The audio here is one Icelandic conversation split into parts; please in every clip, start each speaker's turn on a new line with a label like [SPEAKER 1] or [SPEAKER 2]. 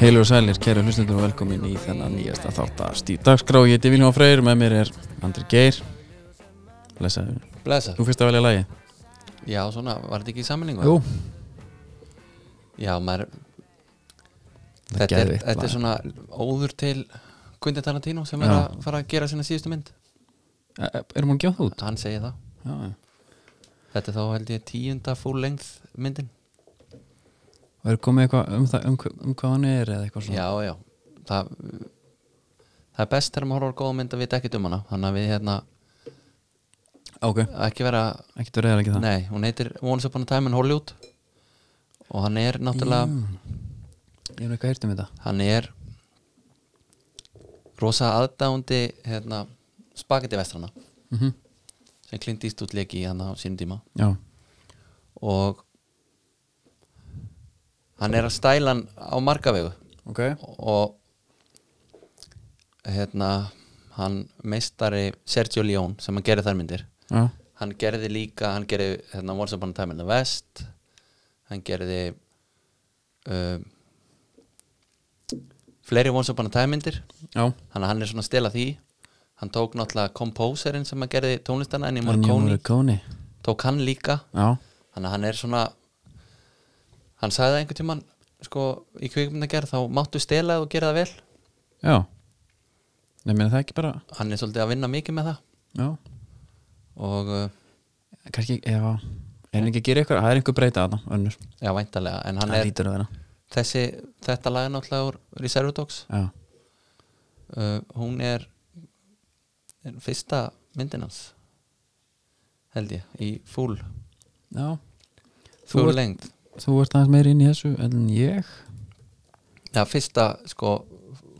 [SPEAKER 1] Heilu og sælir, kæru hlustendur og velkomin í þennan nýjasta þátt að stíð dagskrá Ég heiti Viljón Freyr, með mér er Andri Geir Lesaðu,
[SPEAKER 2] Blessa,
[SPEAKER 1] þú fyrst að velja lagi
[SPEAKER 2] já svona, var þetta ekki í sammenningu? Já, maður,
[SPEAKER 1] Það er
[SPEAKER 2] þetta, er,
[SPEAKER 1] geðveikt
[SPEAKER 2] þetta
[SPEAKER 1] lag.
[SPEAKER 2] er svona óður til Quentin Tarantino sem er
[SPEAKER 1] Já.
[SPEAKER 2] að fara að gera sína síðustu mynd
[SPEAKER 1] E- e- Erum hún gjáð út?
[SPEAKER 2] Hann segir það
[SPEAKER 1] Já, já.
[SPEAKER 2] Þetta er þá held ég tíunda full length myndin
[SPEAKER 1] Og er komið eitthvað um, það, um, hva- um hvað hann er eða eitthvað svona
[SPEAKER 2] Já, já Það, það er best þegar maður horfir á góða mynd að vita ekkert um hana Þannig að við hérna
[SPEAKER 1] Ok,
[SPEAKER 2] ekki vera
[SPEAKER 1] ekki þú reyðar ekki það
[SPEAKER 2] Nei, hún heitir Once Upon a Time in Hollywood Og hann er náttúrulega
[SPEAKER 1] Mm. Ég hef nú eitthvað heyrt um þetta
[SPEAKER 2] hann er rosa aðdándi hérna, spagetti vestrana
[SPEAKER 1] mm
[SPEAKER 2] sem Clint Eastwood leki í hann á sínum tíma
[SPEAKER 1] Já,
[SPEAKER 2] og hann er að stæla hann á margavegu
[SPEAKER 1] ok
[SPEAKER 2] og hérna hann meistari Sergio Leone sem hann gerði þær myndir
[SPEAKER 1] Já,
[SPEAKER 2] hann gerði líka, hann gerði hérna, Once Upon a Time in the West hann gerði um, fleiri Once Upon a Time myndir
[SPEAKER 1] já
[SPEAKER 2] þannig að hann er svona að stela því hann tók náttúrulega komposerinn sem að gerði tónlistana Ennio
[SPEAKER 1] Ennio
[SPEAKER 2] Morricone,
[SPEAKER 1] Morricone
[SPEAKER 2] tók hann líka
[SPEAKER 1] Já,
[SPEAKER 2] þannig að hann er svona hann sagði það einhvern tímann sko í kvikmyndagerð þá máttu stela og gera það vel
[SPEAKER 1] já Nei, meina það ekki bara
[SPEAKER 2] hann er svolítið að vinna mikið með það
[SPEAKER 1] Já
[SPEAKER 2] og uh,
[SPEAKER 1] kannski, ef að er hann ekki að gera eitthvað, það er einhver breyta að það önnur,
[SPEAKER 2] já væntalega en hann
[SPEAKER 1] það
[SPEAKER 2] er
[SPEAKER 1] lítur að vera
[SPEAKER 2] þessi, þetta lag er náttúrulega úr Reserve Dogs
[SPEAKER 1] já,
[SPEAKER 2] uh, hún er, er fyrsta myndin hans held ég í full,
[SPEAKER 1] já. Þú,
[SPEAKER 2] full
[SPEAKER 1] ert,
[SPEAKER 2] lengd
[SPEAKER 1] þú ert aðeins meir inn í þessu en ég
[SPEAKER 2] Já, fyrsta sko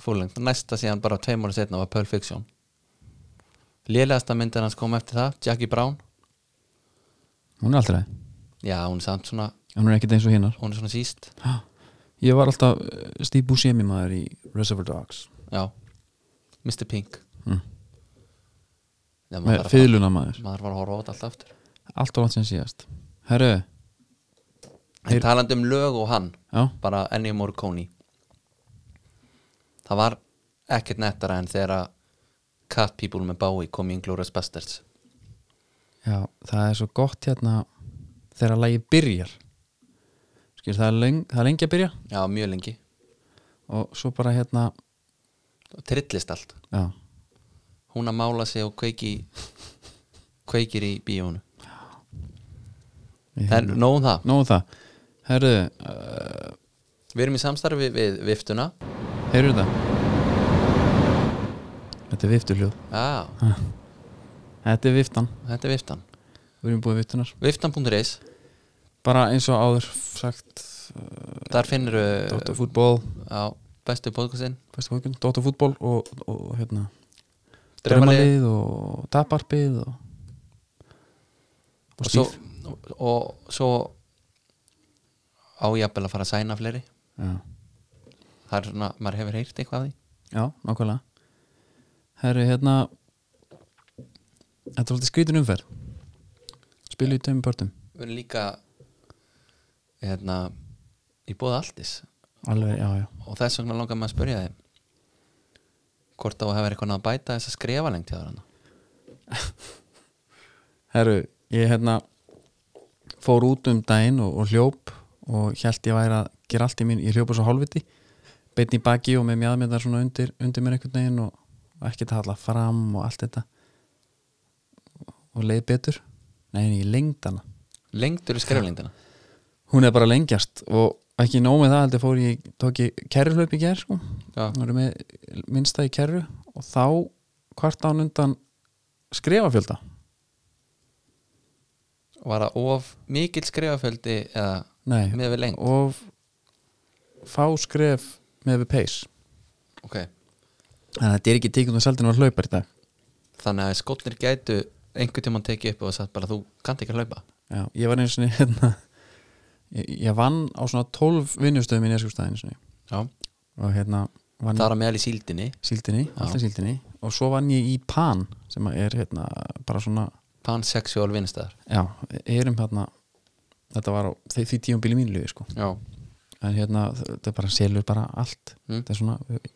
[SPEAKER 2] fúlengt, næsta síðan bara tveim ára setna var Pulp Fiction Lélegasta myndin hans kom eftir það, Jackie Brown
[SPEAKER 1] hún er aldrei,
[SPEAKER 2] Já, hún er samt svona,
[SPEAKER 1] hún er ekkert eins og hinnar
[SPEAKER 2] hún er svona síst
[SPEAKER 1] Ha, ég var alltaf eh, Steve Buscemi maður í Reservoir Dogs
[SPEAKER 2] Já, Mr. Pink
[SPEAKER 1] mm.
[SPEAKER 2] Já,
[SPEAKER 1] með
[SPEAKER 2] maður, var að,
[SPEAKER 1] fyluna maður
[SPEAKER 2] maður var að horfa á þetta alltaf aftur
[SPEAKER 1] eh, allt og allt sem síðast herru, Þeir-
[SPEAKER 2] En talandi um lög og hann,
[SPEAKER 1] já,
[SPEAKER 2] bara Ennio Morricone Það var ekkert nettara en þegar að Cat People með Bowie kom í Inglourious Bastards
[SPEAKER 1] já það er svo gott hérna þegar að lagi byrjar skil, það er, leng, það er lengi að byrja
[SPEAKER 2] Já, mjög lengi,
[SPEAKER 1] og svo bara hérna
[SPEAKER 2] Og trillist allt
[SPEAKER 1] já,
[SPEAKER 2] hún að mála sig og kveiki kveikir í bíónu
[SPEAKER 1] Ég
[SPEAKER 2] það er nóg um það
[SPEAKER 1] nóg um það herru, eh,
[SPEAKER 2] við erum í samstarfi við viftuna
[SPEAKER 1] heyrðu þetta þetta er viftuljóð
[SPEAKER 2] já,
[SPEAKER 1] þetta er viftan,
[SPEAKER 2] þetta er viftan
[SPEAKER 1] við erum búið viftunar
[SPEAKER 2] viftan.is,
[SPEAKER 1] bara eins og áður sagt
[SPEAKER 2] þar finnir
[SPEAKER 1] Dóttar fútból,
[SPEAKER 2] á bestu podcastin
[SPEAKER 1] bestu fólkun Dóttar fútból og, og hérna
[SPEAKER 2] Draumalið.
[SPEAKER 1] Draumalið og Taparpið og, og
[SPEAKER 2] og svo,
[SPEAKER 1] Stíf
[SPEAKER 2] og, og svo ájafnvel að fara að sæna fleiri
[SPEAKER 1] já.
[SPEAKER 2] það er svona, maður hefur heyrt eitthvað af því
[SPEAKER 1] já, nákvæmlega herru, hérna þetta er alltaf skrítin umferð spilu í tveim pörtum
[SPEAKER 2] við erum líka hérna, í bóða alltis
[SPEAKER 1] alveg, já, já,
[SPEAKER 2] og þess vegna langar maður að spyrja þið hvort þá hefur eitthvað að bæta þess að skrifa lengt hjá þér hana
[SPEAKER 1] Herru, ég hérna fór út um daginn og, og hljóp og hjælt ég væri að gera allt í mín, ég hljópa svo hálfviti beinn í baki og með mjadmyndar svona undir, undir mér einhvern veginn og, og ekki tala fram og allt þetta og leið betur nei, nei, ég lengd hana
[SPEAKER 2] lengdur í skriflengdina
[SPEAKER 1] hún er bara að lengjast og ekki nóg með það heldur fór ég, tók ég kerruhlaup í gerð sko
[SPEAKER 2] já,
[SPEAKER 1] hún er með minnsta í kerru og þá hvart án undan skrifafjölda
[SPEAKER 2] var það of mikill skrifaföldi eða
[SPEAKER 1] nei,
[SPEAKER 2] með við lengt
[SPEAKER 1] og fá skref með við pace
[SPEAKER 2] ok,
[SPEAKER 1] þannig að þetta er ekki tekið um saldinu að hlaupar í dag
[SPEAKER 2] þannig að skotnir gætu einhvern tímann tekið upp og sagt bara þú kannt ekki að hlaupa
[SPEAKER 1] já, ég var einu sinni hérna, ég, ég vann á svona 12 vinnustöðum í neskjöfstæðinu sinni
[SPEAKER 2] já.
[SPEAKER 1] og hérna vann
[SPEAKER 2] það er að meðal í síldinni
[SPEAKER 1] síldinni,
[SPEAKER 2] Já.
[SPEAKER 1] alltaf síldinni og svo vann ég í pan sem að er hérna bara svona,
[SPEAKER 2] pansexual vinnstæðar
[SPEAKER 1] já, erum hérna þetta var á því, því tíum bíli mínu liði sko
[SPEAKER 2] já,
[SPEAKER 1] en hérna, þetta er bara selur bara allt
[SPEAKER 2] Mm.
[SPEAKER 1] þetta er svona eh,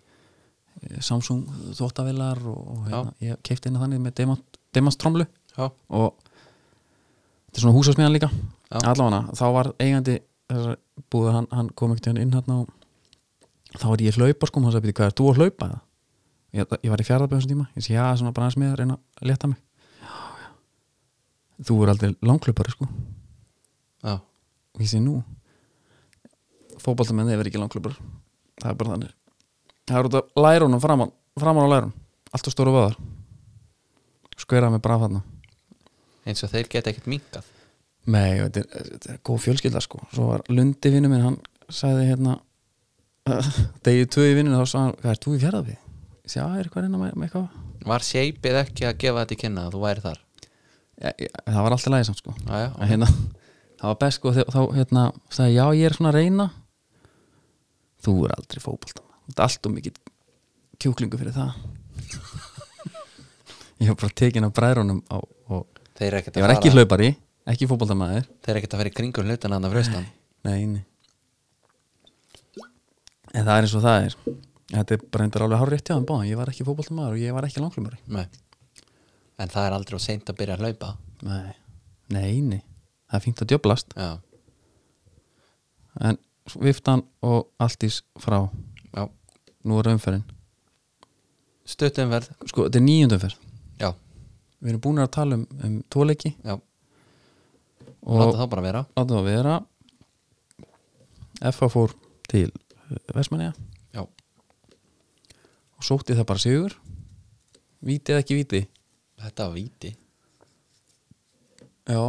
[SPEAKER 1] Samsung þóttavilar og, og hérna, ég keipti inn þannig með demant, demanstromlu
[SPEAKER 2] já,
[SPEAKER 1] og þetta er svona húsasmiðan líka
[SPEAKER 2] Já.
[SPEAKER 1] allavega, þá var eigandi þessar búið, hann, hann kom ekkert inn hérna og þá var ég að hlaupa sko, og hann sagði, "Bíddu, hvað er þú að hlaupa það? Ég, ég var í fjarðabæðum þessum tíma, ég sé, já, svona bara aðeins með að reyna að leta mig já, já. þú er aldrei langhlaupari sko
[SPEAKER 2] já,
[SPEAKER 1] og ég sé nú fótballtamenn hefur ekki langklubbar það er bara þannig það er út af lærunum framan, framan á lærun alltaf stóru vöðar skverað með braf þarna
[SPEAKER 2] eins og þeir geta ekkert minkað
[SPEAKER 1] Nei, og þetta er, þetta er góð fjölskylda sko Svo var Lundi vinnu minn, hann sagði hérna Degið tvö í vinnunni, þá sagði hann Hvað er þú í fjaraðbið? Ég segi, að er eitthvað að reyna með, með eitthvað
[SPEAKER 2] var seipið ekki að gefa þetta í kynna að þú væri þar
[SPEAKER 1] ég, ég, Það var alltaf lægisamt sko
[SPEAKER 2] já, já,
[SPEAKER 1] En hérna, það var best sko þegar- þá hérna, sagði já ég er svona að reyna þú er aldrei fótboltamann þú er allt og mikið kjúklingu fyrir það ég var bara tekin af bræðrunum á, og
[SPEAKER 2] þeir eru
[SPEAKER 1] ég
[SPEAKER 2] ekkert að
[SPEAKER 1] var
[SPEAKER 2] fara
[SPEAKER 1] ekki hlaupari ekki fótboltamæður
[SPEAKER 2] þeir eru ekkert að fara í kringum hlutina hann af raustan
[SPEAKER 1] nei, nei. en það er eins og það er þetta er bara endur alveg hár rétt hjá þeim báðum ég var ekki fótboltamæður og ég var ekki langflumari
[SPEAKER 2] Nei. en það er aldrei og seint að byrja að hlaupa
[SPEAKER 1] nei, nei, nei það er fínt að djöblast
[SPEAKER 2] já,
[SPEAKER 1] en viftan og alltís frá
[SPEAKER 2] já,
[SPEAKER 1] nú er umferðin
[SPEAKER 2] stuttumverð
[SPEAKER 1] sko, þetta er níundumferð
[SPEAKER 2] já,
[SPEAKER 1] við erum búin að tala um, um tóleiki
[SPEAKER 2] já, láta
[SPEAKER 1] og
[SPEAKER 2] það bara vera
[SPEAKER 1] láta það vera FH fór til Vestmanniða
[SPEAKER 2] já,
[SPEAKER 1] og sótti það bara sigur víti eða ekki víti
[SPEAKER 2] þetta var víti
[SPEAKER 1] já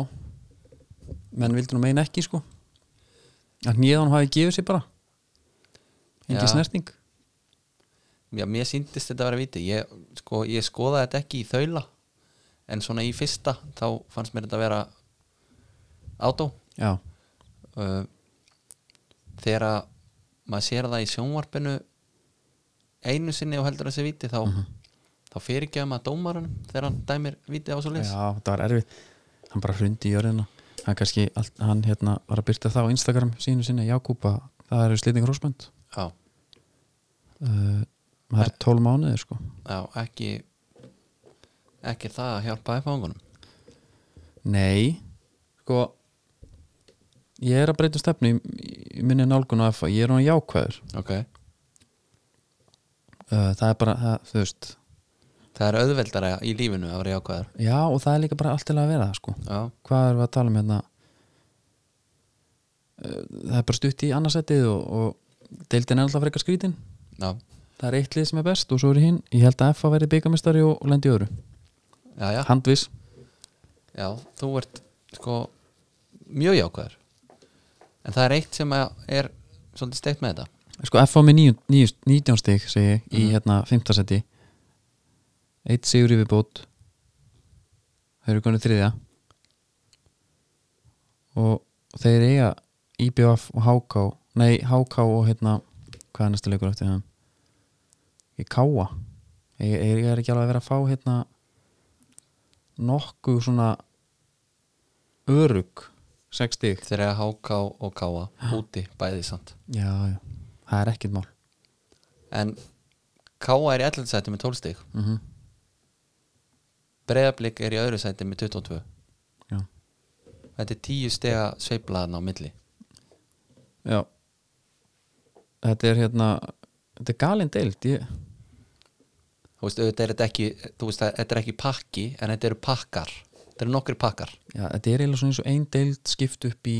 [SPEAKER 1] menn vildi nú meina ekki sko að nýðan hafi gefið sér bara engin
[SPEAKER 2] Já.
[SPEAKER 1] snerting
[SPEAKER 2] Já, mér síndist þetta að vera viti ég, sko, ég skoðaði þetta ekki í þaula en svona í fyrsta þá fannst mér þetta að vera átó
[SPEAKER 1] já,
[SPEAKER 2] uh, Eh, þegar að maður sér það í sjónvarpinu einu sinni og heldur þessi viti þá, mm -hmm. þá fyrirgefum að dómarun þegar hann dæmir viti á svo
[SPEAKER 1] já,
[SPEAKER 2] leys
[SPEAKER 1] þetta var erfið hann bara hrundi í jörðina hann kannski, allt, hann hérna var að byrta það á Instagram sínu sinni, Jakúba það eru slýting hrósbönd
[SPEAKER 2] já,
[SPEAKER 1] uh, það eru 12 mánuðir sko
[SPEAKER 2] já, ekki ekki það að hjálpa æfangunum
[SPEAKER 1] Nei Sko Ég er að breyta stefnu í, í minni nálgun á FA, ég er hann jákvæður
[SPEAKER 2] ok,
[SPEAKER 1] uh, Það er bara, það, þú veist
[SPEAKER 2] það er auðveldara í lífinu að vera jákvæður
[SPEAKER 1] Já og það er líka bara allt til að vera það sko
[SPEAKER 2] já,
[SPEAKER 1] Hvað erum við að tala um hérna uh, Það er bara stutt í annarsettið og, og deildin er alltaf frekar skrítin
[SPEAKER 2] já,
[SPEAKER 1] Það er eitt lið sem er best og svo er hinn Ég held að FA verði byggamistari og, og lendi í öðru
[SPEAKER 2] já, já
[SPEAKER 1] Handviss
[SPEAKER 2] Já, þú ert sko mjög jákvæður en það er eitt sem að er svolítið steikt með þetta
[SPEAKER 1] Sko FA með níu- níu- 19 stig segi ég í hérna 5. seti Eitt sigur í viðbót Þau eru konið þriðja og þeir eiga IBF og HK Nei, HK og hérna hvað er næsta leikur eftir það? Ég káa Ég ég- ég er ekki alveg að vera að fá hérna nokkuð svona örugg 6 stig
[SPEAKER 2] þeir eru að háká og káa úti bæði samt
[SPEAKER 1] Já, já, það er ekkert mál
[SPEAKER 2] en káa er í 11 sæti með 12 stig
[SPEAKER 1] mm
[SPEAKER 2] breyðablík er í öðru sæti með 22
[SPEAKER 1] Já
[SPEAKER 2] þetta er 10 stiga sveiflaðan á milli
[SPEAKER 1] Já Þetta er hérna Þetta er galin deild ég,
[SPEAKER 2] þú veist, auðvitað er þetta ekki þú veist, það- þetta er ekki pakki en þetta eru pakkar þetta eru nokkri pakkar
[SPEAKER 1] já, Þetta er eiginlega svona eins og ein deild skipt upp í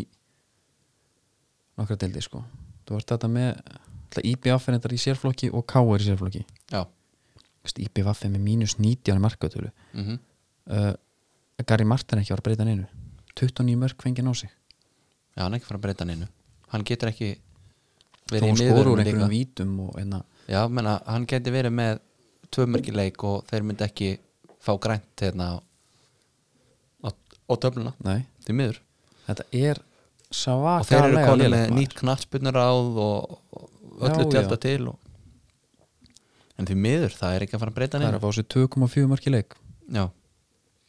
[SPEAKER 1] nokkra deildi sko Þú ert þetta með ætla, IBF er þetta í sérflokki og K er í sérflokki
[SPEAKER 2] já,
[SPEAKER 1] Vist, IBF er með mínus 90 í markatölu
[SPEAKER 2] mm
[SPEAKER 1] uh, Gary Martin er ekki var að breyta neinu 29 mörg fengið á sig
[SPEAKER 2] já hann er ekki fara að breyta hann innu hann getur ekki
[SPEAKER 1] Þó
[SPEAKER 2] verið
[SPEAKER 1] hún
[SPEAKER 2] í
[SPEAKER 1] skóru úr
[SPEAKER 2] miðvörunum líka
[SPEAKER 1] einhverjum vítum og hérna, einna
[SPEAKER 2] Já, menna, hann geti verið með tvö mörgileik og þeir myndi ekki fá grænt hérna á, á, á töfluna,
[SPEAKER 1] Nei,
[SPEAKER 2] því miður
[SPEAKER 1] þetta er
[SPEAKER 2] og þeir eru
[SPEAKER 1] svakalega
[SPEAKER 2] konið
[SPEAKER 1] lélegt,
[SPEAKER 2] með
[SPEAKER 1] maður.
[SPEAKER 2] nýtt knattspunur áð og og öllu
[SPEAKER 1] Já,
[SPEAKER 2] tjálta
[SPEAKER 1] já.
[SPEAKER 2] til og... en því miður, það er ekki að fara að breyta
[SPEAKER 1] Það er
[SPEAKER 2] neina
[SPEAKER 1] að fá sér 2,4 mörg í leik
[SPEAKER 2] Já,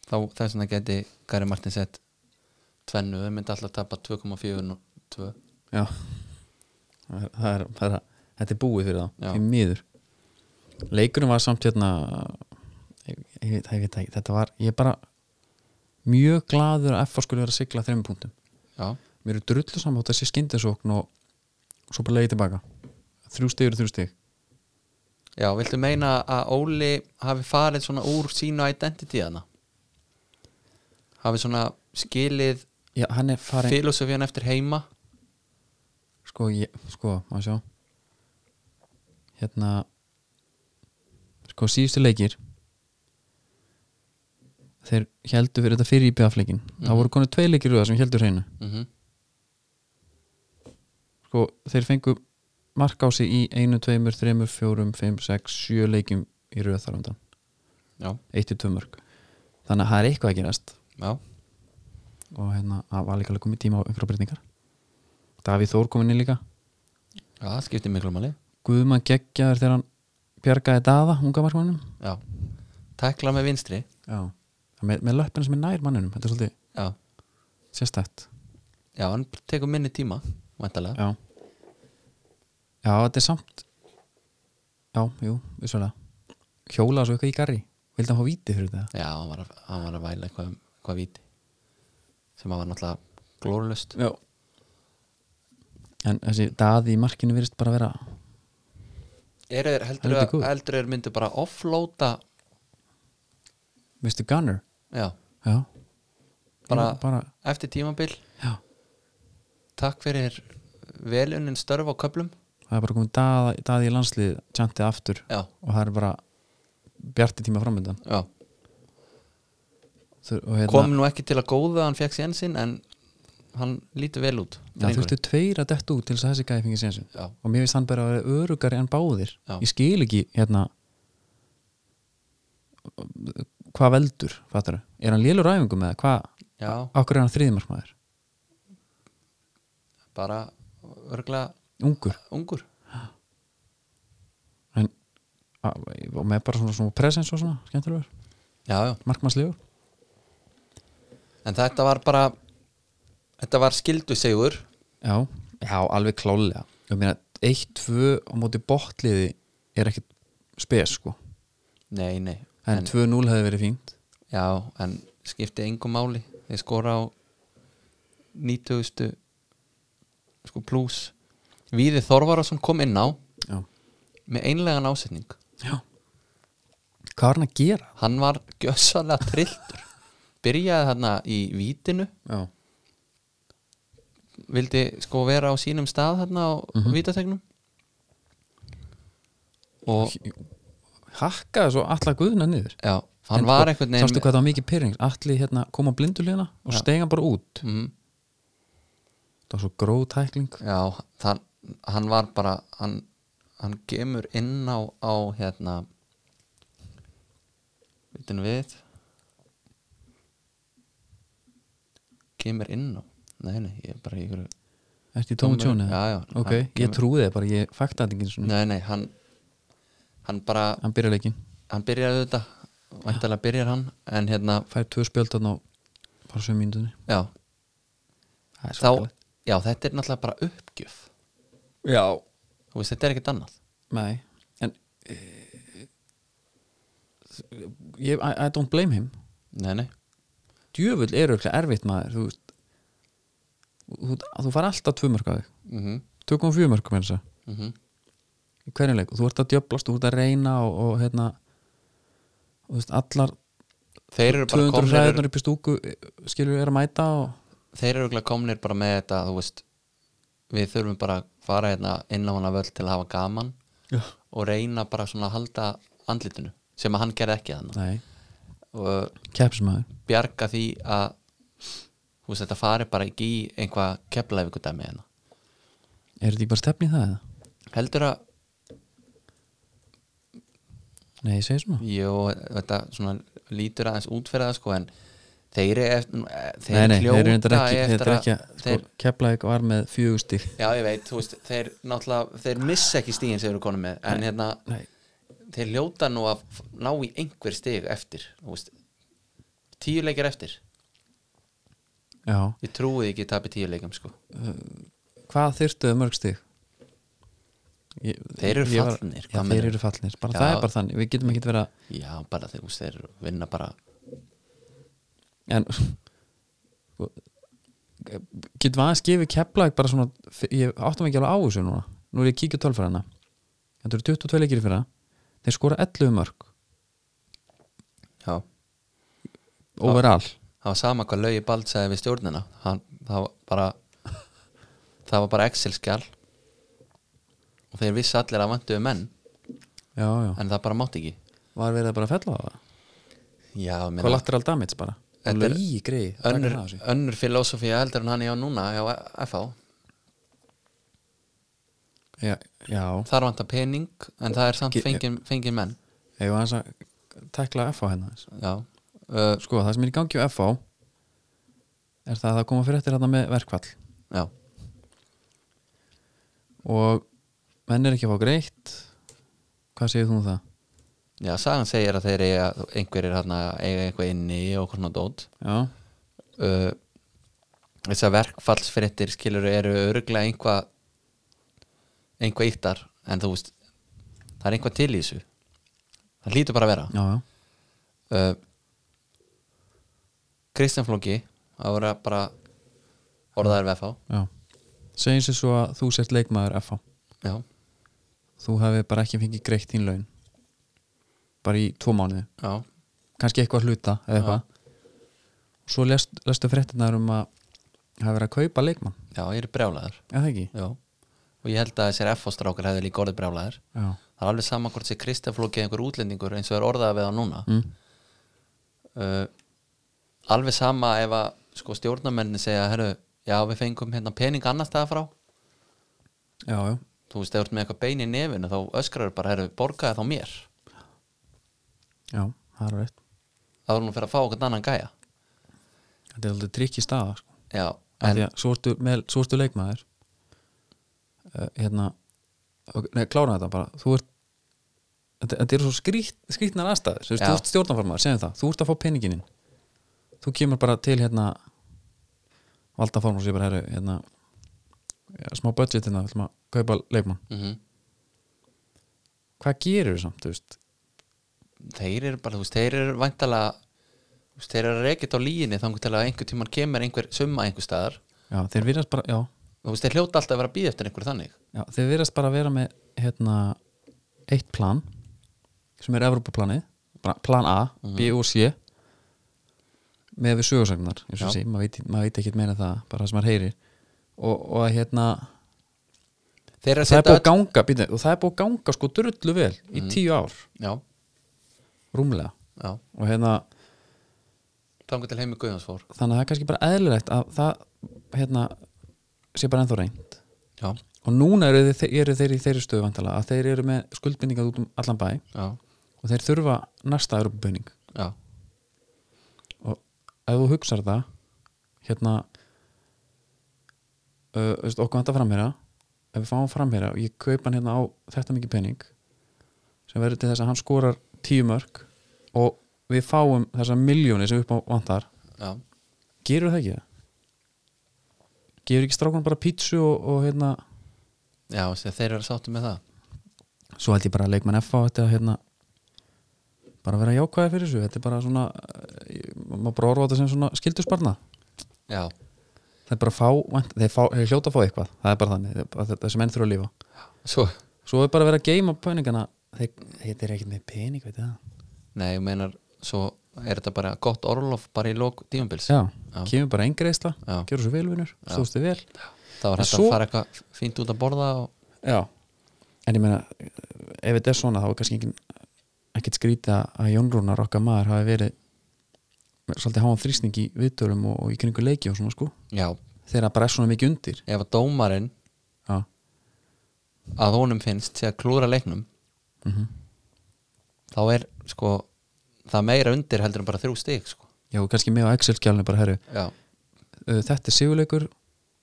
[SPEAKER 2] þá þess vegna geti Gary Martin sett tvennu, þeir myndi alltaf tapa 2,4 og 2
[SPEAKER 1] Já það er, það er bara, þetta er búið fyrir þá
[SPEAKER 2] Já.
[SPEAKER 1] því miður leikurinn var samt hérna ég, ég, veit- ég veit ekki, þetta var ég er bara mjög gladur að FA skulle vera að sigla þreim punktum
[SPEAKER 2] já,
[SPEAKER 1] mér eru drullu saman á þessi skyndisókn og svo bara leiði tilbaka þrjú stig eru þrjú stig
[SPEAKER 2] já, viltu meina að Óli hafi farið svona úr sínu identity hana hafi svona skilið
[SPEAKER 1] Já, hann er
[SPEAKER 2] Farin.
[SPEAKER 1] farin,
[SPEAKER 2] eftir heima
[SPEAKER 1] sko, ég, sko, má sjá hérna sko, síðustu leikir þeir heldur fyrir þetta fyrir í bjafleikin það voru konu tvei leikir röða sem heldur hreinu
[SPEAKER 2] mm
[SPEAKER 1] sko, þeir fengu mark á sig í einu, tveimur, þreimur, fjórum, fimm, sex, sjö leikjum í röða þar undan,
[SPEAKER 2] já,
[SPEAKER 1] eitt til tvö mörg þannig að það er eitthvað að gerast
[SPEAKER 2] já,
[SPEAKER 1] og hérna, það var líka alveg komið tíma á einhverja breytingar Davíð Þór komin í líka
[SPEAKER 2] já, það skiptir miklu máli
[SPEAKER 1] Guðmann geggjaður þegar hann bjargaði daða, unga markmannum
[SPEAKER 2] já, tekla með vinstri
[SPEAKER 1] Já, með, með löppina sem er nær manninum þetta er svolítið
[SPEAKER 2] já,
[SPEAKER 1] sérstætt
[SPEAKER 2] já, hann tekur minni tíma væntalega,
[SPEAKER 1] Já Já, þetta er samt Já, jú, vissulega Hjóla svo eitthvað í garri, vildi hann fá víti fyrir þetta
[SPEAKER 2] já, hann, var að, hann var að væla eitthvað, um- eitthvað víti sem hann var náttúrulega glórulust
[SPEAKER 1] Já En þessi daði í markinu virðist bara vera
[SPEAKER 2] er þeir heldur,
[SPEAKER 1] Heldur
[SPEAKER 2] heldur,
[SPEAKER 1] góð.
[SPEAKER 2] heldur er myndu bara offloada
[SPEAKER 1] Mr. Gunner
[SPEAKER 2] já,
[SPEAKER 1] Já
[SPEAKER 2] Bara-
[SPEAKER 1] Ég- bara
[SPEAKER 2] eftir tímabil
[SPEAKER 1] Já,
[SPEAKER 2] takk fyrir velunin störf á köflum
[SPEAKER 1] það er bara komið daði, daði í landslið tjantið aftur
[SPEAKER 2] já,
[SPEAKER 1] og það er bara bjarti tíma framöndan
[SPEAKER 2] já,
[SPEAKER 1] hérna,
[SPEAKER 2] kom nú ekki til að góða að hann fekk sér sinn en hann lítur vel út
[SPEAKER 1] Já, þú veistu tveir að detta út til þess að þessi gæði fengið sér
[SPEAKER 2] Já.
[SPEAKER 1] og mér finnst hann bara að vera örugari en báðir
[SPEAKER 2] Já.
[SPEAKER 1] ég skil ekki hérna hvað veldur fattar. er hann lélur æfingum eða hvað
[SPEAKER 2] já,
[SPEAKER 1] okkur er hann þriðmarkmaður,
[SPEAKER 2] bara örgla
[SPEAKER 1] ungur
[SPEAKER 2] ungur
[SPEAKER 1] en, a, og með bara svona, svona presens og svona, skemmtilegur,
[SPEAKER 2] já, já,
[SPEAKER 1] markmannslegur
[SPEAKER 2] en þetta var bara þetta var skildu segur
[SPEAKER 1] já, já, alveg klálega ég meina, eitt, tvö á móti botliði er ekkit spes sko,
[SPEAKER 2] nei, nei,
[SPEAKER 1] en, en 2-0 hefði verið fínt
[SPEAKER 2] já, en skipti engum máli þeir skora á 90 sko pluss Víði Þorvarason kom inn á
[SPEAKER 1] já,
[SPEAKER 2] með einlegan ásetning
[SPEAKER 1] já. hvað var hann að gera
[SPEAKER 2] hann var gjössalega trilltur byrjaði þarna í vítinu
[SPEAKER 1] já
[SPEAKER 2] vildi sko vera á sínum stað þarna á
[SPEAKER 1] Mhm.
[SPEAKER 2] vítategnum og
[SPEAKER 1] hakkaði svo alla guðuna niður
[SPEAKER 2] já, hann
[SPEAKER 1] En
[SPEAKER 2] var
[SPEAKER 1] sko,
[SPEAKER 2] einhvern
[SPEAKER 1] sástu
[SPEAKER 2] veginn
[SPEAKER 1] hvað það var mikið pyrring allir hérna kom á blindulegina og ja. hann bara út
[SPEAKER 2] mm,
[SPEAKER 1] það var svo gróð tækling
[SPEAKER 2] já, það, hann var bara hann, hann gemur inn á, á hérna vitinu við gemur inn á nei, nei, ég er bara í ykkur
[SPEAKER 1] eftir Tómi
[SPEAKER 2] Dómurinn-
[SPEAKER 1] Tjóni
[SPEAKER 2] já, já,
[SPEAKER 1] ok,
[SPEAKER 2] hann
[SPEAKER 1] ég trúði það bara, ég fakti þetta ekki einu sinni.
[SPEAKER 2] nei, nei, hann hann bara,
[SPEAKER 1] hann byrja leikin,
[SPEAKER 2] hann byrjaði þetta væntalega byrjar hann en hérna,
[SPEAKER 1] fær tvö spjöld þarna á bara sömu mínutunni
[SPEAKER 2] já,
[SPEAKER 1] það er
[SPEAKER 2] þá
[SPEAKER 1] svakalegt.
[SPEAKER 2] já, þetta er náttúrulega bara uppgjöf
[SPEAKER 1] já,
[SPEAKER 2] þú veist, þetta er ekkert annað
[SPEAKER 1] nei en e, ég, I, I don't blame him
[SPEAKER 2] nei, nei,
[SPEAKER 1] djöfull er auðvitað erfitt maður þú veist þú, þú far alltaf tvö mörg á þig
[SPEAKER 2] mm -hmm.
[SPEAKER 1] tökum fjö mörg með þess að
[SPEAKER 2] mhm.
[SPEAKER 1] í hverjum leik og þú ert að djöblast, þú ert að reyna og, og hérna og þú veist, allar
[SPEAKER 2] þeir eru bara
[SPEAKER 1] 200
[SPEAKER 2] komnir
[SPEAKER 1] ræðunar upp í stúku eh, skilur er að mæta og
[SPEAKER 2] þeir eru örugglega komnir bara með þetta þú veist, við þurfum bara að fara hérna inn á hana völd til að hafa gaman
[SPEAKER 1] Já.
[SPEAKER 2] og reyna bara svona að halda andlitinu, sem að hann gerði ekki þannig
[SPEAKER 1] nei,
[SPEAKER 2] og
[SPEAKER 1] keppsmaður
[SPEAKER 2] bjarga því að þú veist, þetta fari bara ekki í einhvað kepla ef ykkur dæmi hérna
[SPEAKER 1] er þetta ekki bara stefni í það eða?
[SPEAKER 2] heldur að,
[SPEAKER 1] nei, ég segi svona
[SPEAKER 2] jú, þetta svona lítur aðeins útferða sko, en þeir eru eftir, þeir
[SPEAKER 1] nei, nei, þeir eru
[SPEAKER 2] hljóta
[SPEAKER 1] reyndar ekki, þetta
[SPEAKER 2] eftir
[SPEAKER 1] er ekki
[SPEAKER 2] að
[SPEAKER 1] að,
[SPEAKER 2] þeir,
[SPEAKER 1] sko, keplaðið var með fjögustig
[SPEAKER 2] Já, ég veit, þú veist, þeir náttúrulega þeir missa ekki stíðin sem þeir eru konum með en hérna,
[SPEAKER 1] nei,
[SPEAKER 2] þeir ljóta nú að f- ná í einhver stig eftir þú veist, tíu leikir eftir
[SPEAKER 1] já,
[SPEAKER 2] ég trúið ekki að tapi tíu leikum sko
[SPEAKER 1] hvað þyrftuðu um mörg stig? ég,
[SPEAKER 2] Þeir eru
[SPEAKER 1] ég var-
[SPEAKER 2] fallnir,
[SPEAKER 1] já,
[SPEAKER 2] hvað
[SPEAKER 1] þeir
[SPEAKER 2] meinarðu?
[SPEAKER 1] eru fallnir, bara
[SPEAKER 2] Já.
[SPEAKER 1] það er bara þannig við getum ekkert vera
[SPEAKER 2] já, bara þeir, þú veist, þeir vinna bara
[SPEAKER 1] en sko, getum við aðeins gefið keplæk bara svona, ég áttum ekki alveg á þessu núna nú er ég að kíkja tölfræðina þetta eru 22 leikir fyrir það þeir skora 11 mörg,
[SPEAKER 2] já,
[SPEAKER 1] overall
[SPEAKER 2] það var sama hvað Laugi Bald segði við stjórnina hann, það var bara það var bara Excel-skjal og þeir vissi allir að vantuðu menn
[SPEAKER 1] já, já,
[SPEAKER 2] en það bara mátti ekki
[SPEAKER 1] var verið að bara fella á það
[SPEAKER 2] já, ég meina,
[SPEAKER 1] collateral damage bara
[SPEAKER 2] Þetta er
[SPEAKER 1] lögi greið,
[SPEAKER 2] önnur,
[SPEAKER 1] taka hann af þessu.
[SPEAKER 2] önnur filosofi heldur en hann ég á núna á FH,
[SPEAKER 1] já, já,
[SPEAKER 2] þar vantar pening en það er samt
[SPEAKER 1] Ge-
[SPEAKER 2] fengin, fengin menn
[SPEAKER 1] ef aðeins að tekla FH hérna aðeins.
[SPEAKER 2] já, uh,
[SPEAKER 1] sko, það sem er í gangi á FH er það að það koma fyrir eftir hérna með verkfall
[SPEAKER 2] já
[SPEAKER 1] og menn er ekki að fá greitt hvað segir þú um það?
[SPEAKER 2] já, sagan segir að þeir eiga einhverjir hérna, eiga eitthvað inni og hvernig dót
[SPEAKER 1] Já,
[SPEAKER 2] uh, þessar verkfallsfréttir skilur eru örglega einhvað einhvað íttar en þú veist, það er einhvað til í þessu það lítur bara að vera
[SPEAKER 1] já, já,
[SPEAKER 2] uh, Kristján Flóki að vera bara orðaður við FH
[SPEAKER 1] já. segjum sér svo að þú sért leikmaður FH
[SPEAKER 2] já,
[SPEAKER 1] þú hefði bara ekki fengið greitt þín laun bara í tvo mánuði
[SPEAKER 2] já,
[SPEAKER 1] kannski eitthvað hluta eða eitthvað og svo lest, lestu fréttinar um að hafa verið að kaupa leikmann
[SPEAKER 2] já, ég er brjálæður
[SPEAKER 1] eða það ekki?
[SPEAKER 2] já, og ég held að þessir FH strákar hefði líka orðið brjálæður
[SPEAKER 1] Já,
[SPEAKER 2] það er alveg sama hvort sér Kristján Flóki eða einhver útlendingur eins og er orðaður við það núna
[SPEAKER 1] mm.
[SPEAKER 2] uh, alveg sama ef að sko, stjórnarmenni segja herru, já við fengum hérna pening annars staðar frá
[SPEAKER 1] já, já.
[SPEAKER 2] þú veist, ef þú ert með eitthvað bein í nefinu þá öskrar bara, herru, borgaði þá mér
[SPEAKER 1] já, það er rétt
[SPEAKER 2] þá erum við fyrir að fá okkur annan gæja
[SPEAKER 1] þetta er aldrei trikk í staða sko.
[SPEAKER 2] já,
[SPEAKER 1] Af
[SPEAKER 2] en,
[SPEAKER 1] því að svo ertu, með, svo ertu leikmaður uh, hérna ok, nei, klára þetta bara þú ert þetta, þetta eru svo skrýtt, skrýtnar aðstæður þú, veist,
[SPEAKER 2] Já.
[SPEAKER 1] þú ert stjórnarformaður, segjum það, þú ert að fá peninginin þú kemur bara til hérna valdaformar sem ég bara heru hérna, ja, smá budget hérna, við ætlum að kaupa leikmann
[SPEAKER 2] mm
[SPEAKER 1] hvað gerir samt, þú veist
[SPEAKER 2] þeir eru bara, þú veist, þeir eru væntalega þú veist, þeir eru að reykja á líginni þangur til að einhver tíman kemur einhver summa einhver staðar
[SPEAKER 1] já, þeir virðast bara, já,
[SPEAKER 2] þú veist, þeir hljóta alltaf að vera að býða eftir einhver þannig
[SPEAKER 1] já, þeir virðast bara að vera með hérna, eitt plan sem er Evropaplanið bara plan A,
[SPEAKER 2] Mhm.
[SPEAKER 1] B og C með við sögursagnar eins og
[SPEAKER 2] Já.
[SPEAKER 1] sé, maður veit, maður veit ekkert meira en það bara það sem maður heyrir og, og að, hérna,
[SPEAKER 2] þeir eru að
[SPEAKER 1] það er búið
[SPEAKER 2] setja Mhm.
[SPEAKER 1] að ganga býtum, og það er búið að ganga sko drullu vel í tíu ár,
[SPEAKER 2] öll já,
[SPEAKER 1] rúmlega
[SPEAKER 2] já,
[SPEAKER 1] og hérna,
[SPEAKER 2] þangur til heimi Guðjóns fór
[SPEAKER 1] þannig að það er kannski bara eðlilegt að það hérna, sé bara ennþá reynd
[SPEAKER 2] já,
[SPEAKER 1] og núna eru þeir, eru þeir í þeirri stöðu vantala að þeir eru með skuldbindingar út um allan bæ
[SPEAKER 2] já,
[SPEAKER 1] og þeir þurfa næsta Europabunning
[SPEAKER 2] já,
[SPEAKER 1] og ef þú hugsar það hérna uh, veist, okkur vantar framherja ef við fáum framherja og ég kaupa hann hérna á þetta mikið pening sem verður til þess að hann skorar tíu mörg og við fáum þessa miljóni sem upp á vantar
[SPEAKER 2] já,
[SPEAKER 1] gerur það ekki það? gerur ekki strákunum bara pítsu og, og hérna
[SPEAKER 2] já þú veist, þeir eru að sáttu með það
[SPEAKER 1] svo held ég bara að leikmann F á þetta hérna bara vera jákvæði fyrir þessu þetta er bara svona eh, ég- maður bara orða á þetta sem svona skildusbarna
[SPEAKER 2] já,
[SPEAKER 1] það er bara að fá, vænt- þeir, fá þeir hljóta að fá eitthvað það er bara þannig, þeir- að þetta sem enn þurfa að lífa
[SPEAKER 2] svo
[SPEAKER 1] svo er bara að vera að geima peningana þeir, þeir eru ekkert með pening, veit það
[SPEAKER 2] Nei, ég meinar, svo er þetta bara gott orlof bara í lók tímabils
[SPEAKER 1] já,
[SPEAKER 2] Já.
[SPEAKER 1] kemur bara engreisla,
[SPEAKER 2] Já.
[SPEAKER 1] gerur svo vel vinnur stóðstu vel
[SPEAKER 2] Það var
[SPEAKER 1] En
[SPEAKER 2] hægt
[SPEAKER 1] svo-
[SPEAKER 2] að fara eitthvað fínt út að borða og...
[SPEAKER 1] já. en ég meina eh, ef þetta er svona þá er kannski engin, ekkert skrýta að Jón Rúnar okkar maður hafi verið með svolítið háan þrýsning í viðtölum og, og í kringu leiki og svona sko
[SPEAKER 2] Já,
[SPEAKER 1] þegar bara er svona mikið undir
[SPEAKER 2] ef að dómarinn
[SPEAKER 1] já,
[SPEAKER 2] að honum finnst sé að klúra leiknum
[SPEAKER 1] Mhm.
[SPEAKER 2] þá er sko það meira undir heldur en bara þrjú stig sko.
[SPEAKER 1] já og kannski með á Excel-skjálni bara herru
[SPEAKER 2] Já,
[SPEAKER 1] uh, þetta er sigurleikur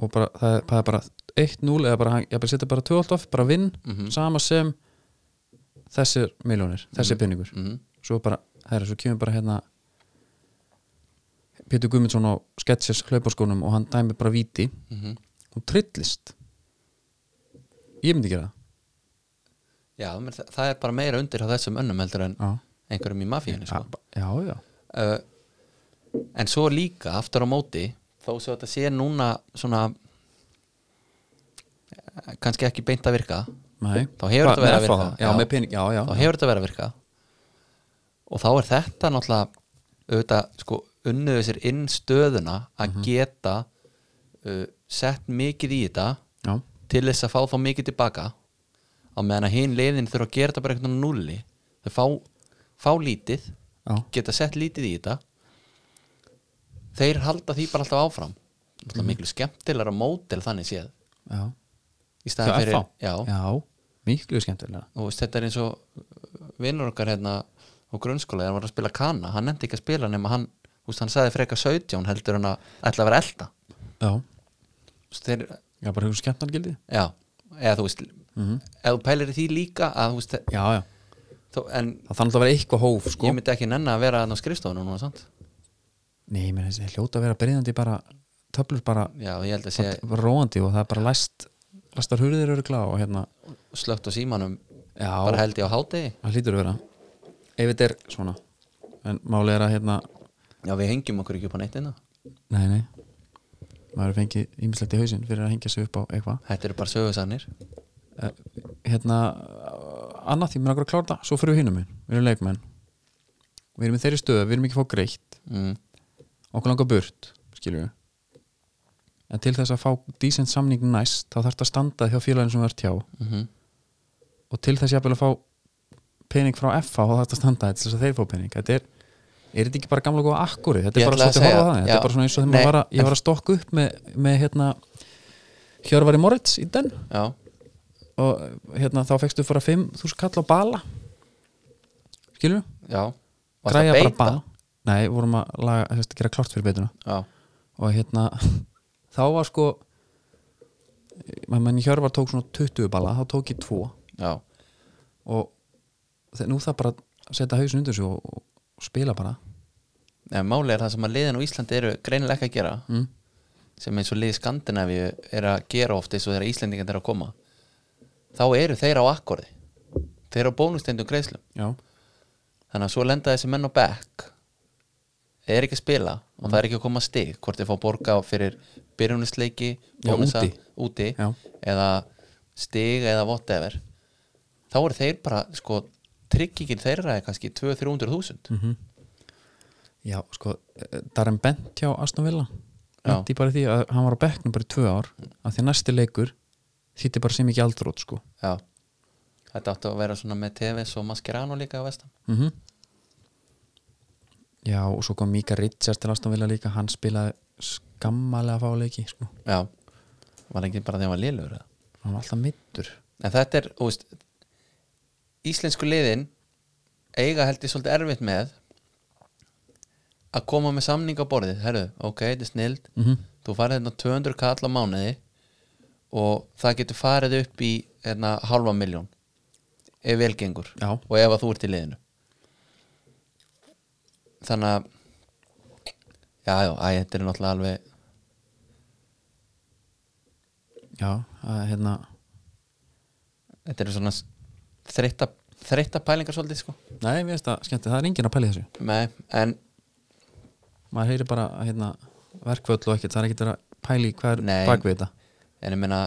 [SPEAKER 1] og bara, það, er- það er bara 1-0 eða bara, hann- ég bara setja bara 2-0 off, bara vinn
[SPEAKER 2] Mhm.
[SPEAKER 1] sama sem þessir miljónir, þessir peningur
[SPEAKER 2] mm
[SPEAKER 1] svo bara, herra, svo kemur bara hérna Pétur Guðmundsson á sketches hlauparskónum og hann dæmi bara víti,
[SPEAKER 2] -hmm.
[SPEAKER 1] hún trillist ég myndi gera það
[SPEAKER 2] já, menn, það, það er bara meira undir á þessum önnum heldur en
[SPEAKER 1] já,
[SPEAKER 2] einhverjum í mafíunni sko.
[SPEAKER 1] Ah, já, já.
[SPEAKER 2] uh, en svo líka aftur á móti þó svo þetta sé núna svona eh, kannski ekki beint að virka
[SPEAKER 1] Nei.
[SPEAKER 2] Þá hefur
[SPEAKER 1] Hvað,
[SPEAKER 2] þetta verið að
[SPEAKER 1] með FH?
[SPEAKER 2] virka.
[SPEAKER 1] já,
[SPEAKER 2] Já.
[SPEAKER 1] með pening, já, já,
[SPEAKER 2] þá hefur þetta verið að virka og þá er þetta náttúrulega auðvitað sko unnuðu sér inn stöðuna að geta uh, sett mikið í þetta
[SPEAKER 1] já,
[SPEAKER 2] til þess að fá þá mikið tilbaka á meðan að hinn leiðin þurfa að gera þetta bara eitthvað núli þau fá, fá lítið
[SPEAKER 1] já,
[SPEAKER 2] geta sett lítið í þetta þeir halda því bara alltaf áfram mm miklu skemmtilega mótel þannig séð
[SPEAKER 1] já.
[SPEAKER 2] í staðan
[SPEAKER 1] Hjá
[SPEAKER 2] fyrir
[SPEAKER 1] FH?
[SPEAKER 2] já,
[SPEAKER 1] miklu skemmtilega
[SPEAKER 2] og veist, þetta er eins og vinnur okkar hérna á grunnskóla þegar hann var að spila kana, hann nefndi ekki að spila nema hann, þú veist, hann sagði freka 17 heldur hann að ætla að vera elda
[SPEAKER 1] já,
[SPEAKER 2] Þú veist, þeir,
[SPEAKER 1] já, bara hefur skemmtargildi
[SPEAKER 2] já, eða þú veist eða þú pælir í því líka að þú veist,
[SPEAKER 1] Mhm. já, já,
[SPEAKER 2] þó, en
[SPEAKER 1] það þarf alltaf að vera eitthvað hóf sko.
[SPEAKER 2] ég myndi ekki nenni að vera hann á skrifstofunum núna, sant?
[SPEAKER 1] nei, menn þessi hljóta að vera breyðandi bara, töflur bara
[SPEAKER 2] já, ég held að sé
[SPEAKER 1] róandi og það er bara læst læstar hurðir eru glá og hérna
[SPEAKER 2] slögt á símanum
[SPEAKER 1] já,
[SPEAKER 2] bara held ég á hádegi
[SPEAKER 1] það hlýtur að vera ef þetta er svona en máli er að hérna,
[SPEAKER 2] já, við hengjum okkur ekki upp á hérna. neittina
[SPEAKER 1] nei, nei maður fengið ímislegt í hausinn fyrir að hengja sig upp á eitthvað
[SPEAKER 2] þetta eru bara sögursannir
[SPEAKER 1] Eh, hérna eh, annað því, mér er okkur að klára það, svo fyrir við hinum minn við erum leikmenn við erum í þeirri stöðu, við erum ekki að fá greitt
[SPEAKER 2] mm.
[SPEAKER 1] okkur langar burt, skiljum við en til þess að fá decent samning næst, þá þarf það að standa hjá félagin sem þú ert hjá
[SPEAKER 2] Mm
[SPEAKER 1] og til þess jafnvel að fá pening frá FH, þá þarf það að standa til þess að þeir fá pening, þetta er er þetta ekki bara gamla góða akkuri, þetta
[SPEAKER 2] Ég
[SPEAKER 1] er bara
[SPEAKER 2] ætlaði að
[SPEAKER 1] svolítið að horfa
[SPEAKER 2] segja,
[SPEAKER 1] á þannig, þetta
[SPEAKER 2] já.
[SPEAKER 1] er bara svona eins og þegar
[SPEAKER 2] Nei,
[SPEAKER 1] maður var að,
[SPEAKER 2] en-
[SPEAKER 1] ég var að stokka upp með, með hérna Hjörvari Moritz í den
[SPEAKER 2] já,
[SPEAKER 1] og hérna þá fekstu fyrir 5.000 kall á bala skilur við?
[SPEAKER 2] já Varstu að
[SPEAKER 1] græja bara
[SPEAKER 2] beita?
[SPEAKER 1] bala nei, vorum að laga, þú veist, gera klart fyrir beituna
[SPEAKER 2] já,
[SPEAKER 1] og hérna þá var sko maður menn Hjörvar tók svona 20 bala þá tók ég 2
[SPEAKER 2] já
[SPEAKER 1] og þe- nú það bara að setja hausin undir sig og, og spila bara
[SPEAKER 2] Nei, máli er það sem að liðin á Íslandi eru greinilega ekki að gera
[SPEAKER 1] mm.
[SPEAKER 2] sem eins og lið Skandinavíu er að gera oft eins og þeirra Íslandingan er að koma þá eru þeir á akkorði þeir eru á bónustendum greiðslum
[SPEAKER 1] já,
[SPEAKER 2] þannig að svo lenda þessi menn á back er ekki að spila og það er ekki að koma stig hvort þeir fá borga fyrir byrjunisleiki
[SPEAKER 1] Já,
[SPEAKER 2] bónusa,
[SPEAKER 1] úti.
[SPEAKER 2] úti
[SPEAKER 1] Já.
[SPEAKER 2] eða stig eða whatever þá eru þeir bara sko tryggingin þeirra er kannski 200-300 þúsund
[SPEAKER 1] Mhm. já sko Darren Bent hjá Aston Villa
[SPEAKER 2] Já.
[SPEAKER 1] Lenti bara í því að hann var á bekknum bara í 2 ár að því að næsti leikur þýtti bara sem ekki aldrót sko
[SPEAKER 2] Já Þetta átti að vera svona með TVS og Mascherano líka á vestan
[SPEAKER 1] mm Já og svo kom Mika Richards til Aston Villa líka hann spilaði skammalega fá leiki sko.
[SPEAKER 2] Já Var ekki bara þegar hann var lélur
[SPEAKER 1] hann var alltaf mittur
[SPEAKER 2] En þetta er, þú veist Íslensku liðin eiga held ég svolítið erfitt með að koma með samning á borðið Herru, ok, þetta er snild
[SPEAKER 1] mm -hmm.
[SPEAKER 2] Þú farið hérna 200 kall á mánuði og það getur farið upp í hérna halva miljón ef vel gengur
[SPEAKER 1] Já,
[SPEAKER 2] og ef að þú ert í liðinu þannig að já, já, æ, þetta er náttúrulega alveg
[SPEAKER 1] já að, hérna,
[SPEAKER 2] þetta er svona þreytta, þreytta pælingar svolítið sko
[SPEAKER 1] Nei, mér finnst það skemmt það er enginn að pæli þessu
[SPEAKER 2] Nei, en
[SPEAKER 1] maður heyri bara hérna, verkvöld og ekkert það er ekkert að pæli hvað er
[SPEAKER 2] Nei.
[SPEAKER 1] bak við þetta
[SPEAKER 2] en ég meina,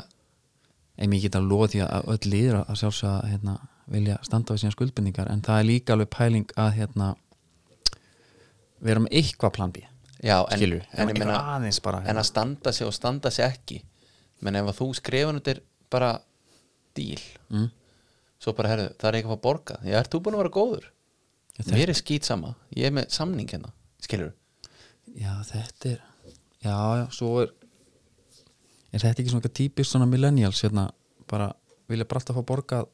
[SPEAKER 1] en mér geta að loða því að öll líður að sjálfsögða hérna, vilja standa á síðan skuldbendingar en það er líka alveg pæling að hérna, vera með eitthvað plan B
[SPEAKER 2] já, en,
[SPEAKER 1] skilur,
[SPEAKER 2] en ég meina
[SPEAKER 1] aðeins bara hérna.
[SPEAKER 2] en að standa sig og standa sig ekki menn ef að þú skrifan út er bara díl
[SPEAKER 1] mm.
[SPEAKER 2] svo bara, herðu, það er ekki að fá borga já, ert þú búin að vera góður?
[SPEAKER 1] Já, þetta-
[SPEAKER 2] Mér er skýt sama, ég er með samning hérna skilur,
[SPEAKER 1] Já, þetta er Já, já, svo er Er þetta ekki svona eitthvað típist svona millennials hérna, bara vilja bara alltaf fá borgað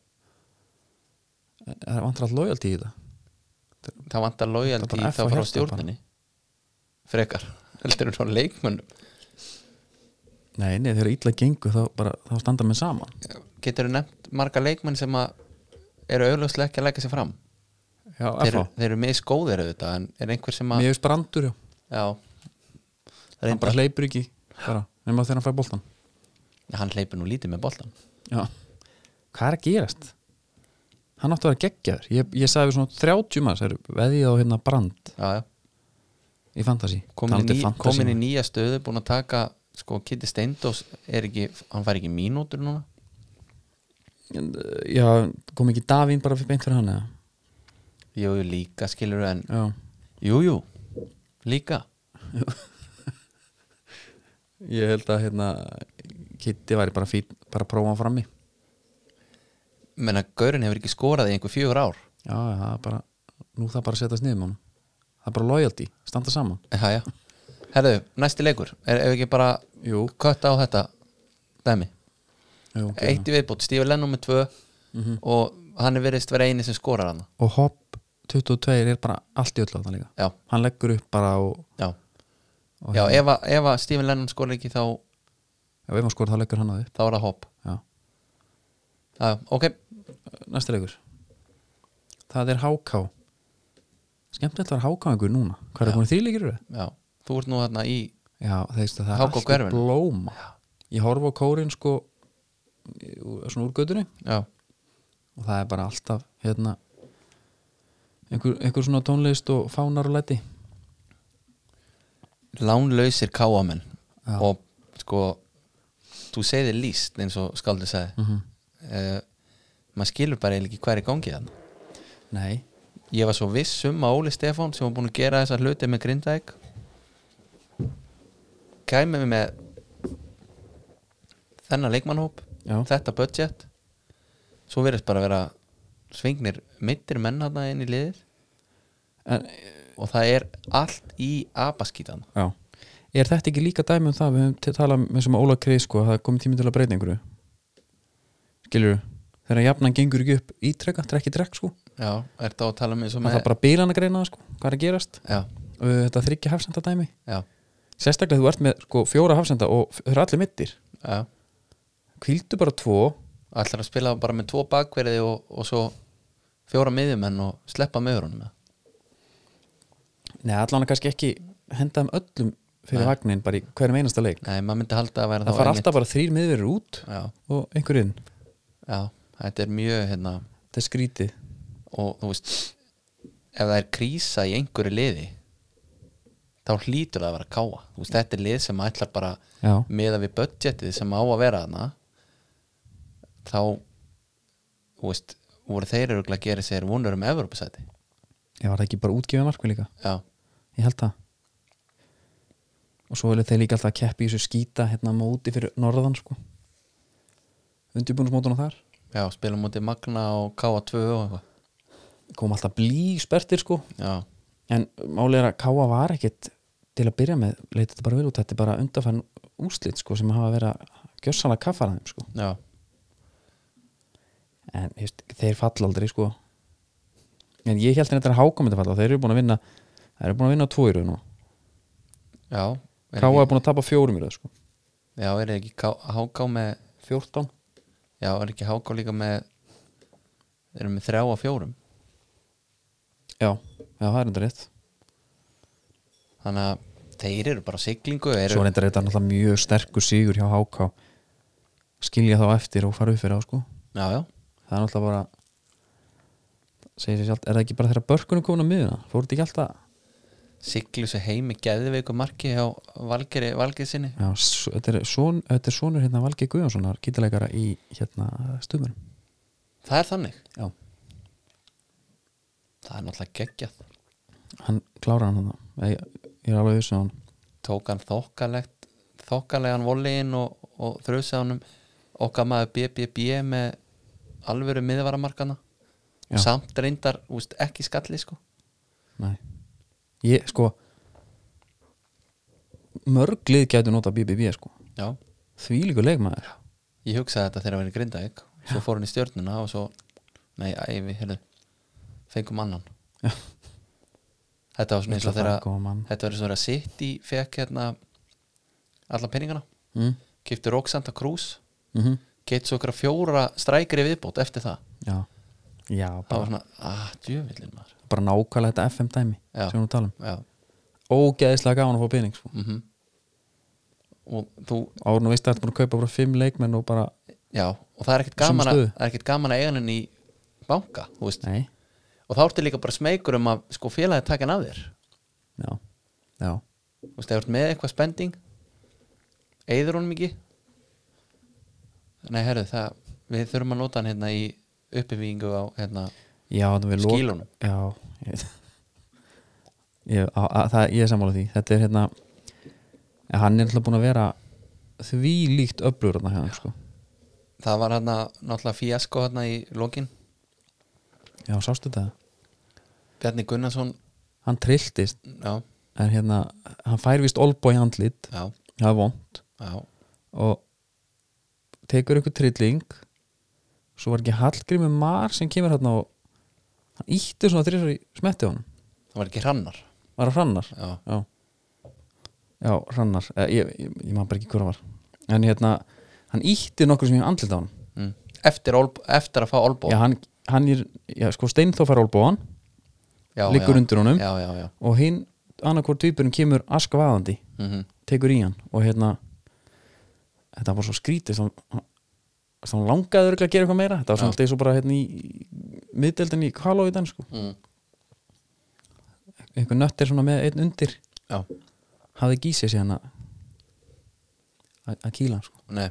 [SPEAKER 1] Er það vantar alltaf lojaldi í þetta?
[SPEAKER 2] það vantar
[SPEAKER 1] Það
[SPEAKER 2] lojaldi
[SPEAKER 1] er bara
[SPEAKER 2] þá
[SPEAKER 1] F á
[SPEAKER 2] frá
[SPEAKER 1] hjarta
[SPEAKER 2] stjórninni frekar, heldur þú frá leikmönnum
[SPEAKER 1] Nei, nei, þegar illa gengur þá, bara, þá standa menn saman
[SPEAKER 2] getur þú nefnt marga leikmenn sem að eru auðvitað ekki að leggja sig fram
[SPEAKER 1] Já,
[SPEAKER 2] þeir,
[SPEAKER 1] FH
[SPEAKER 2] þeir eru misgóðir auðvitað en er einhver sem að
[SPEAKER 1] Mér hefist brandur, já
[SPEAKER 2] já,
[SPEAKER 1] Hann
[SPEAKER 2] reyndar,
[SPEAKER 1] bara hleypur ekki bara, nema þegar hann fær boltan
[SPEAKER 2] hann hleypur nú lítið með boltan
[SPEAKER 1] Já Hvað er að gerast? hann átti að vera geggjaður ég, ég sagði við svona 30 manns er, veðið á hérna brand
[SPEAKER 2] já, já.
[SPEAKER 1] í fantasy
[SPEAKER 2] komin,
[SPEAKER 1] Talandi
[SPEAKER 2] í, ný,
[SPEAKER 1] fantasy.
[SPEAKER 2] komin í nýja stöðu búin að taka sko Kitty Steindós er ekki, hann fær ekki mínútur núna
[SPEAKER 1] já, kom ekki Davín bara fyrir beint fyrir hann eða
[SPEAKER 2] jú, jú, líka skilur en
[SPEAKER 1] já,
[SPEAKER 2] jú, jú, líka
[SPEAKER 1] ég held að hérna Kitty væri bara fín, bara að prófa hann frammi
[SPEAKER 2] menna Gaurin hefur ekki skorað í einhver fjögur ár
[SPEAKER 1] já, já, það er bara, nú það bara að setja sniðum hann það er bara loyalty, standa saman
[SPEAKER 2] já, já, herðu, næsti leikur er ef ekki bara
[SPEAKER 1] Jú.
[SPEAKER 2] kött á þetta dæmi,
[SPEAKER 1] Jú,
[SPEAKER 2] eitt í viðbútt Stífi Lennon með tvö
[SPEAKER 1] Mhm.
[SPEAKER 2] og hann er veriðst vera eini sem skorar hann
[SPEAKER 1] og Hopp 22 er bara allt í öllu þarna líka
[SPEAKER 2] já,
[SPEAKER 1] hann leggur upp bara og,
[SPEAKER 2] já,
[SPEAKER 1] og
[SPEAKER 2] já, ef að- ef að Stífi Lennon skorar ekki þá,
[SPEAKER 1] ef hann skor þá leggur hann að upp
[SPEAKER 2] þá er það hopp
[SPEAKER 1] já.
[SPEAKER 2] já, ok,
[SPEAKER 1] næsti leikur það er HK skemmtilegt var HK einhver núna hvað er
[SPEAKER 2] Já.
[SPEAKER 1] komin þrýleikir eru?
[SPEAKER 2] já, þú ert nú þarna í
[SPEAKER 1] já þeist að það er
[SPEAKER 2] HK
[SPEAKER 1] allt í
[SPEAKER 2] hverfinu.
[SPEAKER 1] blóma
[SPEAKER 2] Já.
[SPEAKER 1] ég horfa á kórin sko í- úr- svona úr göttunni
[SPEAKER 2] já,
[SPEAKER 1] og það er bara alltaf hérna einhver, einhver svona tónlist og fánar og leti
[SPEAKER 2] lánlausir káamenn
[SPEAKER 1] Já.
[SPEAKER 2] og sko þú segði líst eins og skaldu sagði mm maður skilur bara eiginlega ekki hver er í gangi þannig
[SPEAKER 1] nei,
[SPEAKER 2] ég var svo viss um að Óli Stefán sem var búin að gera þessa hluti með Grindæk kæmi við með þennan leikmannhóp
[SPEAKER 1] já,
[SPEAKER 2] þetta budget svo verðist bara að vera svingnir mittir menn hana inn í liðið
[SPEAKER 1] en,
[SPEAKER 2] og það er allt í abaskítan
[SPEAKER 1] já er þetta ekki líka dæmi um það við höfum til- talað með sem Óla Kreis sko, að það er komið tími til að breyta einhverju skilur þegar jafnan gengur ekki upp ítrekka, trekki trekk sko
[SPEAKER 2] já, er það að tala með eins og
[SPEAKER 1] það
[SPEAKER 2] með
[SPEAKER 1] er bara bílan að greina það sko, hvað er að gerast
[SPEAKER 2] já,
[SPEAKER 1] og þetta þryggja hafsenda dæmi
[SPEAKER 2] já,
[SPEAKER 1] sérstaklega þú ert með sko, fjóra hafsenda og f- þeir eru allir mittir
[SPEAKER 2] já
[SPEAKER 1] kvíldu bara tvo
[SPEAKER 2] ætlar að spila bara með tvo bakverði og, og svo fjóra miðjumenn og sleppa meðurunum
[SPEAKER 1] Nei, allan að kannski ekki henda um öllum fyrir
[SPEAKER 2] Nei.
[SPEAKER 1] vagnin bara í hverjum einasta leik
[SPEAKER 2] nei, maður myndi halda að vera
[SPEAKER 1] það
[SPEAKER 2] þá
[SPEAKER 1] fara
[SPEAKER 2] einmitt-
[SPEAKER 1] alltaf bara þrýr miðverður út
[SPEAKER 2] já,
[SPEAKER 1] og einhver inn,
[SPEAKER 2] já, þetta er mjög hérna,
[SPEAKER 1] þetta er skrítið
[SPEAKER 2] og þú veist ef það er krísa í einhverju liði þá hlýtur það að vera að káa Þú veist, þetta er lið sem ætlar bara
[SPEAKER 1] Já,
[SPEAKER 2] meða við budgetið sem á að vera þarna þá þú veist, voru þeir eru að gera sér vonur um Evropasæti
[SPEAKER 1] ég var það ekki bara útgefið markmið líka
[SPEAKER 2] já,
[SPEAKER 1] ég held það og svo vilja þeir líka alltaf að keppi í þessu skýta hérna á móti fyrir norðan sko undirbúnusmótuna þar
[SPEAKER 2] já, spilum mútið Magna og KA2 og eitthvað
[SPEAKER 1] kom alltaf blí spertir sko
[SPEAKER 2] já,
[SPEAKER 1] en málið er að Káa var ekkit til að byrja með, leita þetta bara vel út þetta er bara undarfæðan úslit sko sem hafa verið að gjössalega kaffaraðum sko
[SPEAKER 2] já,
[SPEAKER 1] en þú veist, þeir falla aldrei sko en ég held þetta að háka myndi falla þeir eru búin að vinna þeir eru búin að vinna tvo í raun nú
[SPEAKER 2] já er
[SPEAKER 1] Káa
[SPEAKER 2] ekki,
[SPEAKER 1] er búin að tapa fjórum í raun sko
[SPEAKER 2] já, er ekki K- HK með
[SPEAKER 1] 14
[SPEAKER 2] já, er ekki HK líka með þeir eru með þrjá og fjórum
[SPEAKER 1] já, já það er enda rétt
[SPEAKER 2] þannig að þeir eru bara á siglingu eru,
[SPEAKER 1] svo er enda rétt að náttúrulega mjög sterkur sigur hjá háka skilja þá eftir og fara upp fyrir á sko
[SPEAKER 2] já, já,
[SPEAKER 1] það er náttúrulega bara segir sér sjálft, er það ekki bara þegar börkunum komin á miðuna fóruð þetta ekki alltaf
[SPEAKER 2] siglu sér heimi geðveiku marki hjá Valgeri Valgeir sinni
[SPEAKER 1] já, s- þetta er son- þetta er sonur hérna Valgi Guðjónssonar gítalegara í hérna stumur
[SPEAKER 2] það er þannig,
[SPEAKER 1] já,
[SPEAKER 2] það er náttúrulega geggjað
[SPEAKER 1] hann klárar hann hann ég, ég er alveg viss um hann
[SPEAKER 2] tók hann þokkalegt þokkalegan vollegin og, og þrjusa honum okkar maður BBB með alvöru miðvaramarkana
[SPEAKER 1] Já.
[SPEAKER 2] og samt reyndar úst, ekki skalli sko
[SPEAKER 1] Nei. Ég, sko mörg lið getur nota BBB, sko
[SPEAKER 2] já,
[SPEAKER 1] því líku leikmaður
[SPEAKER 2] ég hugsaði þetta þegar að vera í Grindavík svo fór hann í stjörnuna og svo nei, æ, við heyrðu, fengum annan
[SPEAKER 1] Já.
[SPEAKER 2] þetta var svona eins og þegar að-
[SPEAKER 1] góð mann
[SPEAKER 2] þetta var eins og þegar að City fekk hérna alla peningana
[SPEAKER 1] mm.
[SPEAKER 2] kipti Roxanta Cruz
[SPEAKER 1] Mm
[SPEAKER 2] gett svo okkur fjóra strækri viðbót eftir það
[SPEAKER 1] já, já
[SPEAKER 2] það
[SPEAKER 1] bara,
[SPEAKER 2] var svona, að djöfillin maður
[SPEAKER 1] bara nákvæmlega þetta FM dæmi
[SPEAKER 2] Já.
[SPEAKER 1] sem við talum
[SPEAKER 2] já,
[SPEAKER 1] ógeðislega gaman að fá pening sko.
[SPEAKER 2] mhm og þú,
[SPEAKER 1] árun og veist að þetta búin að kaupa bara fimm leikmenn og bara
[SPEAKER 2] já, og það er ekkert
[SPEAKER 1] Sömu
[SPEAKER 2] gaman að
[SPEAKER 1] stöðu.
[SPEAKER 2] það er ekkert gaman að eiga hann í banka þú veist.
[SPEAKER 1] nei,
[SPEAKER 2] og þá ertu líka bara smeykur um að sko félagi taka hann af þér
[SPEAKER 1] já, já
[SPEAKER 2] þú veist, ef þú ert með eitthvað spending eyður hún mikið nei, herru, það við þurfum að nota hann hérna í uppbyggingu á hérna,
[SPEAKER 1] Já, þannig við lok-
[SPEAKER 2] skílunum
[SPEAKER 1] Já ég, ég, á, á, það, ég er sammála því Þetta er hérna en Hann er alltaf búin að vera því líkt öflugur þarna hérna sko.
[SPEAKER 2] það var hérna náttúrulega fíasko hérna í lokin
[SPEAKER 1] Já, sástu þetta
[SPEAKER 2] Bjarni Gunnarsson
[SPEAKER 1] Hann trilltist
[SPEAKER 2] já,
[SPEAKER 1] en hérna, Hann fær vist olbói handlit
[SPEAKER 2] já,
[SPEAKER 1] Það er vond
[SPEAKER 2] já,
[SPEAKER 1] og tekur ykkur trilling svo var ekki Hallgrími Mar sem kemur hérna og hann ítti svona þrísar í smetti á hann
[SPEAKER 2] það var ekki hrannar
[SPEAKER 1] var það hrannar
[SPEAKER 2] já,
[SPEAKER 1] já, já hrannar eh, ég, ég, ég maður bara ekki hver að var en hérna, hann ítti nokkur sem ég andlit á hann
[SPEAKER 2] mm. eftir, olb, eftir að fá olbó
[SPEAKER 1] já, hann, hann er, já, sko Steinþó fær olbóan
[SPEAKER 2] já,
[SPEAKER 1] liggur undir honum.
[SPEAKER 2] já, já, já,
[SPEAKER 1] og hinn, annarkvort tvípurinn kemur askvaðandi,
[SPEAKER 2] mm
[SPEAKER 1] tekur í hann og hérna þetta var svo skrítið svo, svo hann langaði örugglega að gera eitthvað meira þetta var svona alltaf eins og bara hérna í miðdeldin í kvaló í den sko
[SPEAKER 2] Mm.
[SPEAKER 1] einhver nött er svona með einn undir
[SPEAKER 2] já
[SPEAKER 1] hafði gísið sér hann að að kýla hann sko
[SPEAKER 2] nei,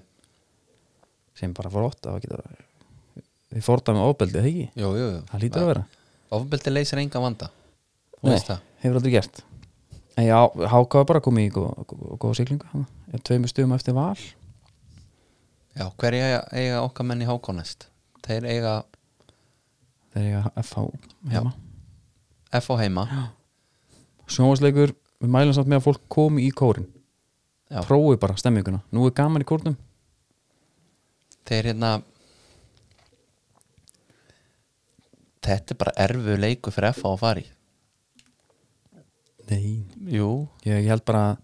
[SPEAKER 1] sem bara fór ótt á að geta við fórtaðum ofbeldið, það ekki?
[SPEAKER 2] jú, jú, jú
[SPEAKER 1] Það lítur að vera
[SPEAKER 2] ofbeldi leysir engan vanda þú
[SPEAKER 1] Nei,
[SPEAKER 2] veist það
[SPEAKER 1] hefur aldrei gert En já, hákaða bara komið í góða góð, góð siglingu hana. Ef tveimur stöðum eftir val
[SPEAKER 2] já, hverja eiga, eiga okkar menn í hákónest þeir eiga
[SPEAKER 1] þegar ég að FH heima
[SPEAKER 2] F á heima
[SPEAKER 1] Sjónvarsleikur, við mælum samt með að fólk komi í kórin
[SPEAKER 2] Já.
[SPEAKER 1] Prófi bara stemminguna Nú er gaman í kórnum
[SPEAKER 2] þeir hérna þetta er bara erfu leiku fyrir F á að fara í
[SPEAKER 1] Nei
[SPEAKER 2] jú,
[SPEAKER 1] Ég, ég held bara að,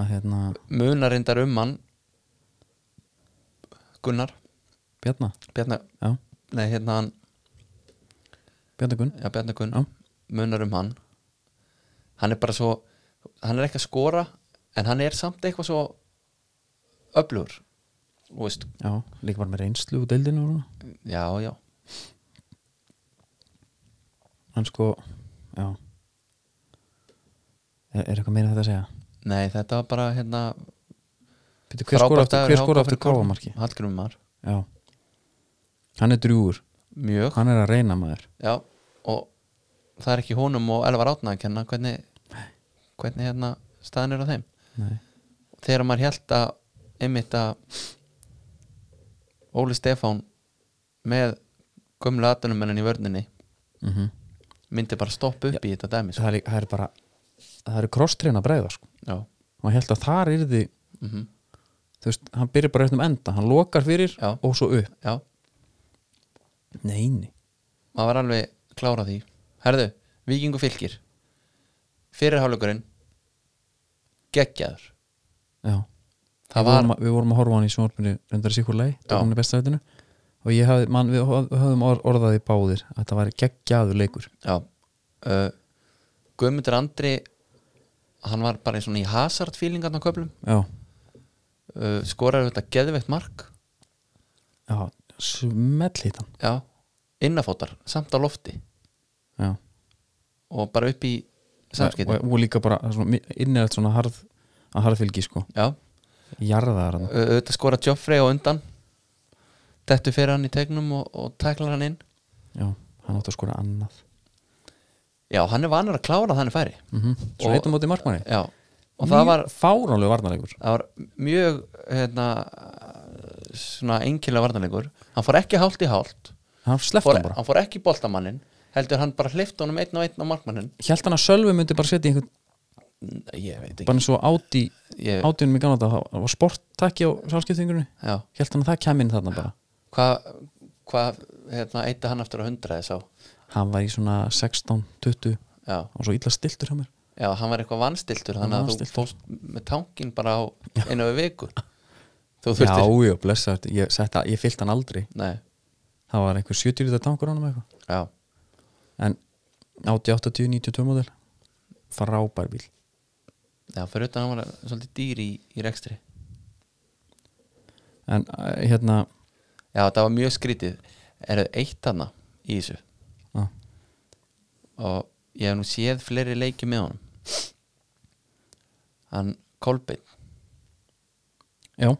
[SPEAKER 1] að hérna,
[SPEAKER 2] munarindar um hann Gunnar
[SPEAKER 1] Bjarna
[SPEAKER 2] Bjarnar,
[SPEAKER 1] Já,
[SPEAKER 2] nei hérna hann
[SPEAKER 1] Bjarna Gunn
[SPEAKER 2] já, Bjarnar Gunn
[SPEAKER 1] Já.
[SPEAKER 2] munar um hann hann er bara svo hann er ekki að skora en hann er samt eitthvað svo öflugur Þú veist,
[SPEAKER 1] Já, líka bara með reynslu úr deildinu og svona.
[SPEAKER 2] já, já
[SPEAKER 1] Hann sko, já Er, er eitthvað meira þetta að segja?
[SPEAKER 2] nei þetta var bara hérna
[SPEAKER 1] Býtu, hver skora aftur, hver skora aftur káfamarki?
[SPEAKER 2] Hallgrumar,
[SPEAKER 1] Já Hann er drjúur,
[SPEAKER 2] mjög
[SPEAKER 1] hann er að reyna maður
[SPEAKER 2] já, og það er ekki honum og Elvar Átna að kenna hvernig, hvernig hérna staðan er á þeim
[SPEAKER 1] Nei.
[SPEAKER 2] þegar maður held að einmitt að Óli Stefán með gömlu aðdunumennin í vörninni
[SPEAKER 1] Mm
[SPEAKER 2] myndi bara stoppa upp í þetta dæmi sko.
[SPEAKER 1] það, er, lí- það er bara það eru krosstreina bregða sko
[SPEAKER 2] já,
[SPEAKER 1] og held að þar er því,
[SPEAKER 2] mm
[SPEAKER 1] þú veist, hann byrjar bara rétt um enda hann lokar fyrir
[SPEAKER 2] Já.
[SPEAKER 1] og svo upp
[SPEAKER 2] já,
[SPEAKER 1] Neini,
[SPEAKER 2] maður var alveg klára því herðu, vikingu fylgir fyrirháleikurinn geggjaður
[SPEAKER 1] já
[SPEAKER 2] það
[SPEAKER 1] við,
[SPEAKER 2] var,
[SPEAKER 1] vorum að, við vorum að horfa á hann í sjónvarpinu reyndar í sikur lei,
[SPEAKER 2] Já.
[SPEAKER 1] tókunni bestræðinu og ég hafði, mann, við höf- höfðum orð- orðað í báðir að þetta var geggjaður leikur
[SPEAKER 2] já uh, Guðmundur Andri hann var bara í svona í hasard fílingarn á köflum
[SPEAKER 1] já,
[SPEAKER 2] uh, skorar auðvitað geðveitt mark
[SPEAKER 1] já, smell hitt hann
[SPEAKER 2] já, innafótar, samt á lofti
[SPEAKER 1] já,
[SPEAKER 2] og bara upp í
[SPEAKER 1] og,
[SPEAKER 2] samskipti
[SPEAKER 1] og líka bara innrætt svona harð að harðfylgi sko,
[SPEAKER 2] já,
[SPEAKER 1] jarðaðar hann
[SPEAKER 2] au- auðvitað skora Joffrey á undan dettu fyrir hann í tegnum og, og tæklar hann inn
[SPEAKER 1] Já, hann átti að skora annað
[SPEAKER 2] já, hann er vanur að klára þannig færi
[SPEAKER 1] mm -hmm. Svo
[SPEAKER 2] Og-
[SPEAKER 1] heitum móti markmanni
[SPEAKER 2] já, og það var,
[SPEAKER 1] Fáránlegu varnarleikur
[SPEAKER 2] það var mjög hérna svona einkilega varnarleikur hann fór ekki hált í hált
[SPEAKER 1] Hann sleppti
[SPEAKER 2] fór,
[SPEAKER 1] hann bara
[SPEAKER 2] hann fór ekki í boltamannin heldur hann bara hlifta honum einn og einn á markmannin
[SPEAKER 1] Hjælt hann að Sölvi myndi bara setja í einhvern
[SPEAKER 2] ég veit
[SPEAKER 1] Bara
[SPEAKER 2] ekki
[SPEAKER 1] eins og áti
[SPEAKER 2] ég,
[SPEAKER 1] Átunum í gamla þetta Það var sporttakki á sálskiptingurinn
[SPEAKER 2] já,
[SPEAKER 1] Hjælt hann að það kæmi inn þarna bara
[SPEAKER 2] hvað hva, hérna, eitti hann aftur á hundra þess á
[SPEAKER 1] Hann var í svona 16, 20
[SPEAKER 2] já
[SPEAKER 1] Og svo illa stiltur hjá mér
[SPEAKER 2] Já, hann var eitthvað vanstiltur
[SPEAKER 1] Hann
[SPEAKER 2] þannig að
[SPEAKER 1] vansstilltur.
[SPEAKER 2] þú fóst með tankin bara á einu við viku Þú
[SPEAKER 1] Já,
[SPEAKER 2] þurftir
[SPEAKER 1] já, blessa þetta Ég, setta- ég fyllt hann aldrei
[SPEAKER 2] Nei,
[SPEAKER 1] Það var einhver 70 lítið tankur á hann eitthvað
[SPEAKER 2] já,
[SPEAKER 1] En 80, 80, 92 módel Frábær bíl
[SPEAKER 2] já, fyrir utan hann var svolítið dýr í, í rekstri
[SPEAKER 1] En hérna, eh, hérna
[SPEAKER 2] Já, það var mjög skrítið Er það eitt hana í þessu
[SPEAKER 1] Já.
[SPEAKER 2] og ég hef nú séð fleiri leiki með honum hann Kolbeinn
[SPEAKER 1] Já,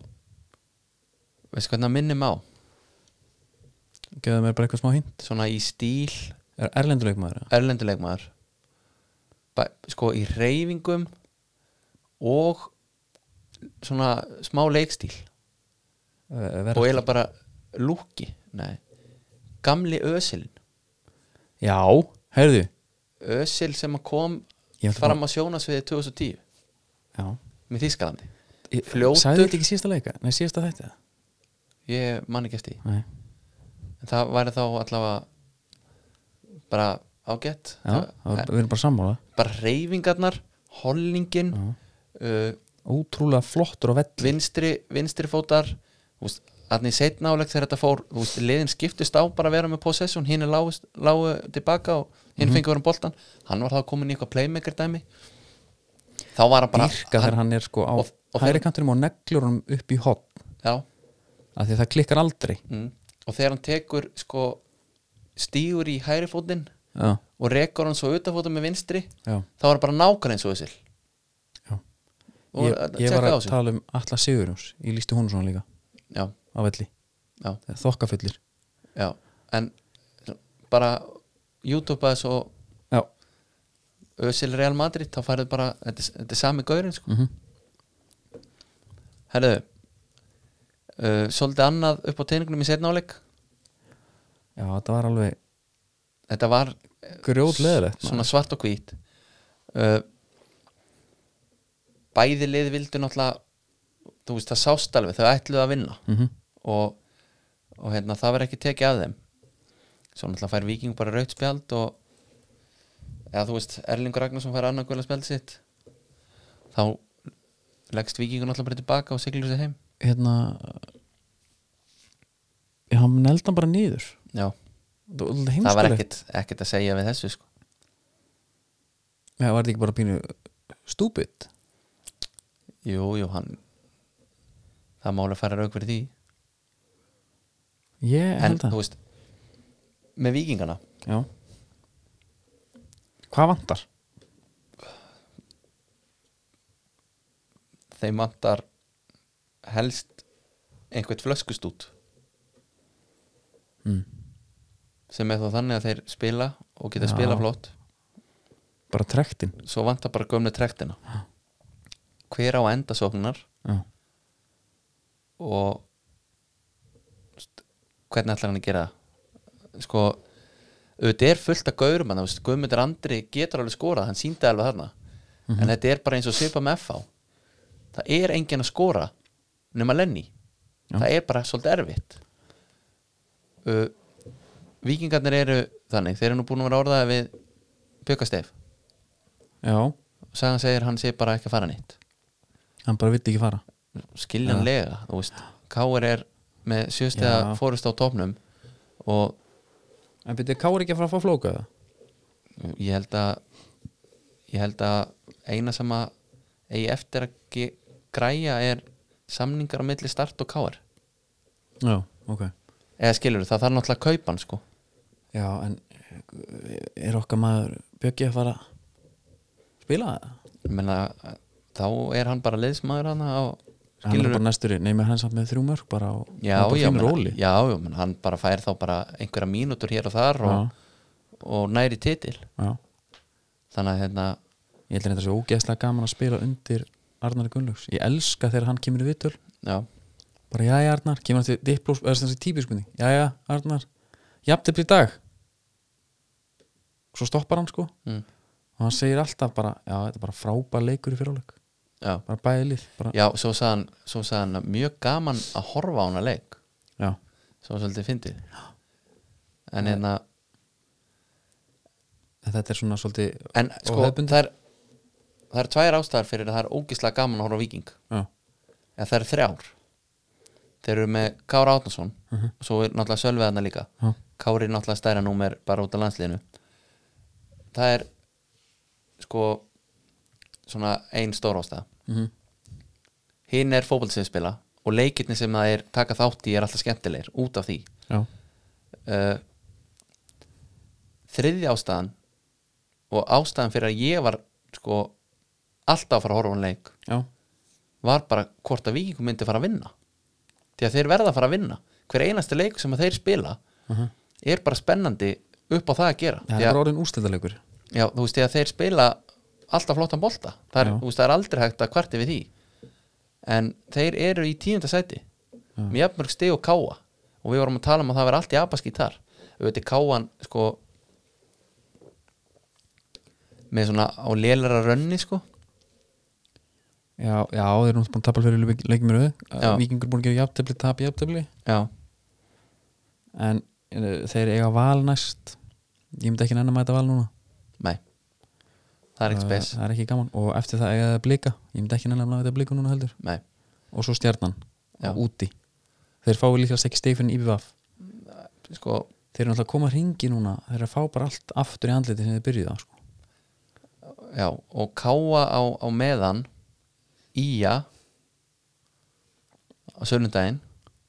[SPEAKER 2] veistu hvernig hann minnum á
[SPEAKER 1] gefðu mér bara eitthvað smá hint
[SPEAKER 2] svona í stíl
[SPEAKER 1] Er erlenduleikmaður? eða?
[SPEAKER 2] örlenduleikmaður sko í reyfingum og svona smá leikstíl
[SPEAKER 1] Eh,
[SPEAKER 2] og
[SPEAKER 1] verður-
[SPEAKER 2] eiginlega bara lúki nei, gamli Ösilin
[SPEAKER 1] Já, heyrðu
[SPEAKER 2] Ösil sem að kom
[SPEAKER 1] Ég ætla
[SPEAKER 2] fram á sjónasviði 2010
[SPEAKER 1] Já
[SPEAKER 2] með Þískalandi
[SPEAKER 1] Ég-
[SPEAKER 2] Fljótur.
[SPEAKER 1] Sagði þetta ekki síðasta leika? Nei, síðasta þetta?
[SPEAKER 2] ég man ekki eftir því.
[SPEAKER 1] Nei
[SPEAKER 2] en það væri þá allavega bara ágætt
[SPEAKER 1] Já, það var, við erum bara sammála
[SPEAKER 2] bara reyfingarnar, holningin
[SPEAKER 1] Já.
[SPEAKER 2] uh,
[SPEAKER 1] Ótrúlega flottur og vell
[SPEAKER 2] vinstri, vinstri fótar þannig seitt náleg þegar þetta fór þú veist, liðin skiptist á bara að vera með possession hinn er lágu, lágu tilbaka og
[SPEAKER 1] Mhm.
[SPEAKER 2] hinn mm -hmm. fengur um boltan, hann var þá komin í eitthvað playmaker dæmi þá var hann bara
[SPEAKER 1] Dýrka þegar hann er sko á
[SPEAKER 2] Og- og-
[SPEAKER 1] hægri kantinum og neglur hann upp í hotn
[SPEAKER 2] já,
[SPEAKER 1] af því að það klikkar aldrei
[SPEAKER 2] mm, og þegar hann tekur sko, stígur í hægri fótinn
[SPEAKER 1] Já,
[SPEAKER 2] og rekur hann svo utafótum með vinstri
[SPEAKER 1] já,
[SPEAKER 2] þá var hann bara nákvæmlega eins og þessil
[SPEAKER 1] já
[SPEAKER 2] og
[SPEAKER 1] Ég, ég var
[SPEAKER 2] tjekkaði
[SPEAKER 1] að
[SPEAKER 2] á þessu.
[SPEAKER 1] tala um Alla Sigurjóns ég lísti hún svona líka
[SPEAKER 2] já,
[SPEAKER 1] á velli
[SPEAKER 2] já,
[SPEAKER 1] Þokkafullir
[SPEAKER 2] já, en bara YouTube aðeins og
[SPEAKER 1] Já,
[SPEAKER 2] Özil Real Madrid þá færðu bara, þetta, er- þetta er sami gaurin sko.
[SPEAKER 1] mhm
[SPEAKER 2] herðu uh, svolítið annað upp á teiningnum í setnáleik
[SPEAKER 1] Já, þetta var alveg
[SPEAKER 2] þetta var
[SPEAKER 1] grjótleðilegt
[SPEAKER 2] svona svart og hvít uh, bæði lið vildu náttúrulega þú veist það sást alveg, þau ætluðu að vinna
[SPEAKER 1] mm
[SPEAKER 2] og, og hérna, það verður ekki tekið að þeim svo náttúrulega fær Víking bara raut spjald og eða þú veist Erlingur Ragnarsson fær annan guðla spjald sitt þá leggst Víkingur náttúrulega bara tilbaka og siglur sér heim
[SPEAKER 1] Hérna Já, hann neldi hann bara nýður
[SPEAKER 2] já,
[SPEAKER 1] Það,
[SPEAKER 2] það var ekkit, ekkit að segja við þessu sko.
[SPEAKER 1] Já, var þetta ekki bara pínu stúbid
[SPEAKER 2] jú, jú, hann það máli að fara rauk fyrir því
[SPEAKER 1] Ég
[SPEAKER 2] en
[SPEAKER 1] held það
[SPEAKER 2] þú veist með Víkingana
[SPEAKER 1] Já Hvað vantar?
[SPEAKER 2] þeim vantar helst einhvert flöskustút
[SPEAKER 1] Mm.
[SPEAKER 2] sem er þá þannig að þeir spila og geta
[SPEAKER 1] Já.
[SPEAKER 2] spila flott
[SPEAKER 1] Bara trektin
[SPEAKER 2] svo vantar bara gömlu trektina hver á endasóknar
[SPEAKER 1] Já,
[SPEAKER 2] og st- hvernig ætlar hann að gera það sko auðvitað er fullt af gaurum hann, Guðmundur Andri getur alveg skorað, hann síndi alveg þarna en þetta er bara eins og svipa með FH það er engin að skora nema Lenny
[SPEAKER 1] Já.
[SPEAKER 2] það er bara svolítið erfitt uh, Víkingarnir eru þannig, þeir eru nú búin að vera orðaði við Bjökkastef
[SPEAKER 1] já
[SPEAKER 2] og sagan segir hann sé bara ekki að fara nýtt
[SPEAKER 1] hann bara vildi ekki fara
[SPEAKER 2] skiljanlega þú veist, Káur er með sjöstega
[SPEAKER 1] Já.
[SPEAKER 2] fórust á topnum og
[SPEAKER 1] En byrjuðu Kári ekki að fara að fá flóka það?
[SPEAKER 2] ég held að ég held að eina sem að eigi eftir að ge- græja er samningar á milli start og Káur
[SPEAKER 1] Já, ok
[SPEAKER 2] eða skilur það þarf náttúrulega að kaupa hann sko
[SPEAKER 1] Já, en er okkar maður Bjöggi að fara að spila það?
[SPEAKER 2] ég meina þá er hann bara liðsmaður hann á
[SPEAKER 1] Hann er
[SPEAKER 2] skilur
[SPEAKER 1] bara næstur í, nei, með hann samt með þrjú mörg bara og
[SPEAKER 2] já,
[SPEAKER 1] hann bara
[SPEAKER 2] já,
[SPEAKER 1] fínur
[SPEAKER 2] meina-
[SPEAKER 1] róli
[SPEAKER 2] já, já, meina, hann bara fær þá bara einhverja mínútur hér og þar og, og næri titil
[SPEAKER 1] já.
[SPEAKER 2] þannig að hérna
[SPEAKER 1] Ég held að þetta sé ógeðslega gaman að spila undir Arnar Gunnlaugs, ég elska þegar hann kemur í vitul
[SPEAKER 2] já,
[SPEAKER 1] bara jæja Arnar, kemur hann til diplós eða þessi típiskunning, jæja Arnar jafntefli í dag svo stoppar hann sko
[SPEAKER 2] mm,
[SPEAKER 1] og hann segir alltaf bara, já þetta er bara frábær leikur í fyrirháleik,
[SPEAKER 2] já
[SPEAKER 1] bara bæði lið bara,
[SPEAKER 2] Já, svo sagði hann, svo sagði hann að mjög gaman að horfa á hana leik
[SPEAKER 1] já,
[SPEAKER 2] svo var svolítið fyndið en, hérna, en,
[SPEAKER 1] En þetta er svona svolítið
[SPEAKER 2] en sko
[SPEAKER 1] hefðbundið.
[SPEAKER 2] það er, það er tvær ástæðar fyrir að það er ógislega gaman að horfa á viking
[SPEAKER 1] já,
[SPEAKER 2] en það er þrjár þeir eru með Kára Átnason og svo er náttúrulega Sölvið hana líka
[SPEAKER 1] já,
[SPEAKER 2] Kári er náttúrulega stærra númer bara út af landsliðinu það er sko svona ein stór ástæða
[SPEAKER 1] mhm,
[SPEAKER 2] hinn er fótbolsinspila og leikirni sem það er taka þátt í er alltaf skemmtilegir út af því
[SPEAKER 1] já,
[SPEAKER 2] uh, Eh, þriðja ástæðan og ástæðan fyrir að ég var sko alltaf að fara að horfa á hann leik
[SPEAKER 1] já,
[SPEAKER 2] var bara hvort að vikingum myndi fara að vinna því að þeir verða að fara að vinna hver einasti leik sem að þeir spila er bara spennandi upp á það að gera
[SPEAKER 1] Mhm. það
[SPEAKER 2] Því að-
[SPEAKER 1] er orðin úrstildalegur
[SPEAKER 2] Já, þú veist, þegar þeir spila alltaf flottan bolta það er,
[SPEAKER 1] Já.
[SPEAKER 2] þú veist, það er aldrei hægt að kvarti við því en þeir eru í tíunda sæti með jafnmörg stig og káa og við vorum að tala um að það verði allt í abaskí þar auðvitað er káan, sko með svona á lélara rönni, sko
[SPEAKER 1] já, já, þeir eru náttúrulega búin að tapa fyrir leik- leikjum í Eh,
[SPEAKER 2] Já.
[SPEAKER 1] röðu vikingur búin að gera jafntefli, tap jafntefli
[SPEAKER 2] Já,
[SPEAKER 1] en eh, þeir eiga val næst ég myndi ekki nenni að mæta val núna Eh,
[SPEAKER 2] nei það er ekkert spes,
[SPEAKER 1] það er ekki gaman og eftir það eiga það blika ég myndi ekki nenni að mæta blika núna heldur
[SPEAKER 2] nei
[SPEAKER 1] og svo stjarnan,
[SPEAKER 2] Já.
[SPEAKER 1] já. úti þeir fái líkast ekki steg fyrir IBVF
[SPEAKER 2] sko,
[SPEAKER 1] þeir eru náttúrulega að koma að ringi núna þeir eru að fá bara allt aftur í andliti sem þeir byrjuðu á sko.
[SPEAKER 2] já, og káa á, á meðan íja á sölundaginn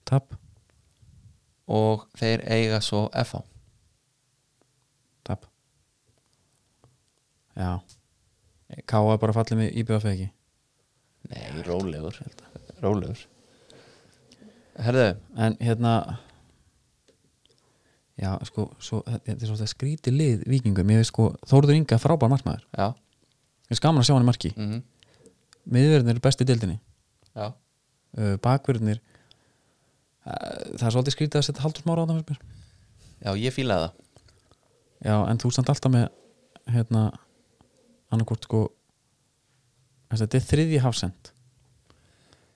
[SPEAKER 1] tap,
[SPEAKER 2] og þeir eiga svo FH
[SPEAKER 1] tap já K.A. er bara fallið með IBVF eða ekki
[SPEAKER 2] Nei, rólegur Rólegur Herðu,
[SPEAKER 1] en hérna já sko svo, þetta er svo þetta skríti lið vikingum ég veist sko Þórður Inga er frábær markmaður
[SPEAKER 2] já,
[SPEAKER 1] ég veist gaman að sjá hann í marki
[SPEAKER 2] mm
[SPEAKER 1] miðverðin eru besti dildinni
[SPEAKER 2] já.
[SPEAKER 1] uh, bakverðinir uh, það er svolítið skrítið að setja haldur smára á það fyrst mér
[SPEAKER 2] já, ég fílaði það
[SPEAKER 1] já en þú stand alltaf með hérna annarkvort sko þess að þetta er þriðji hafsend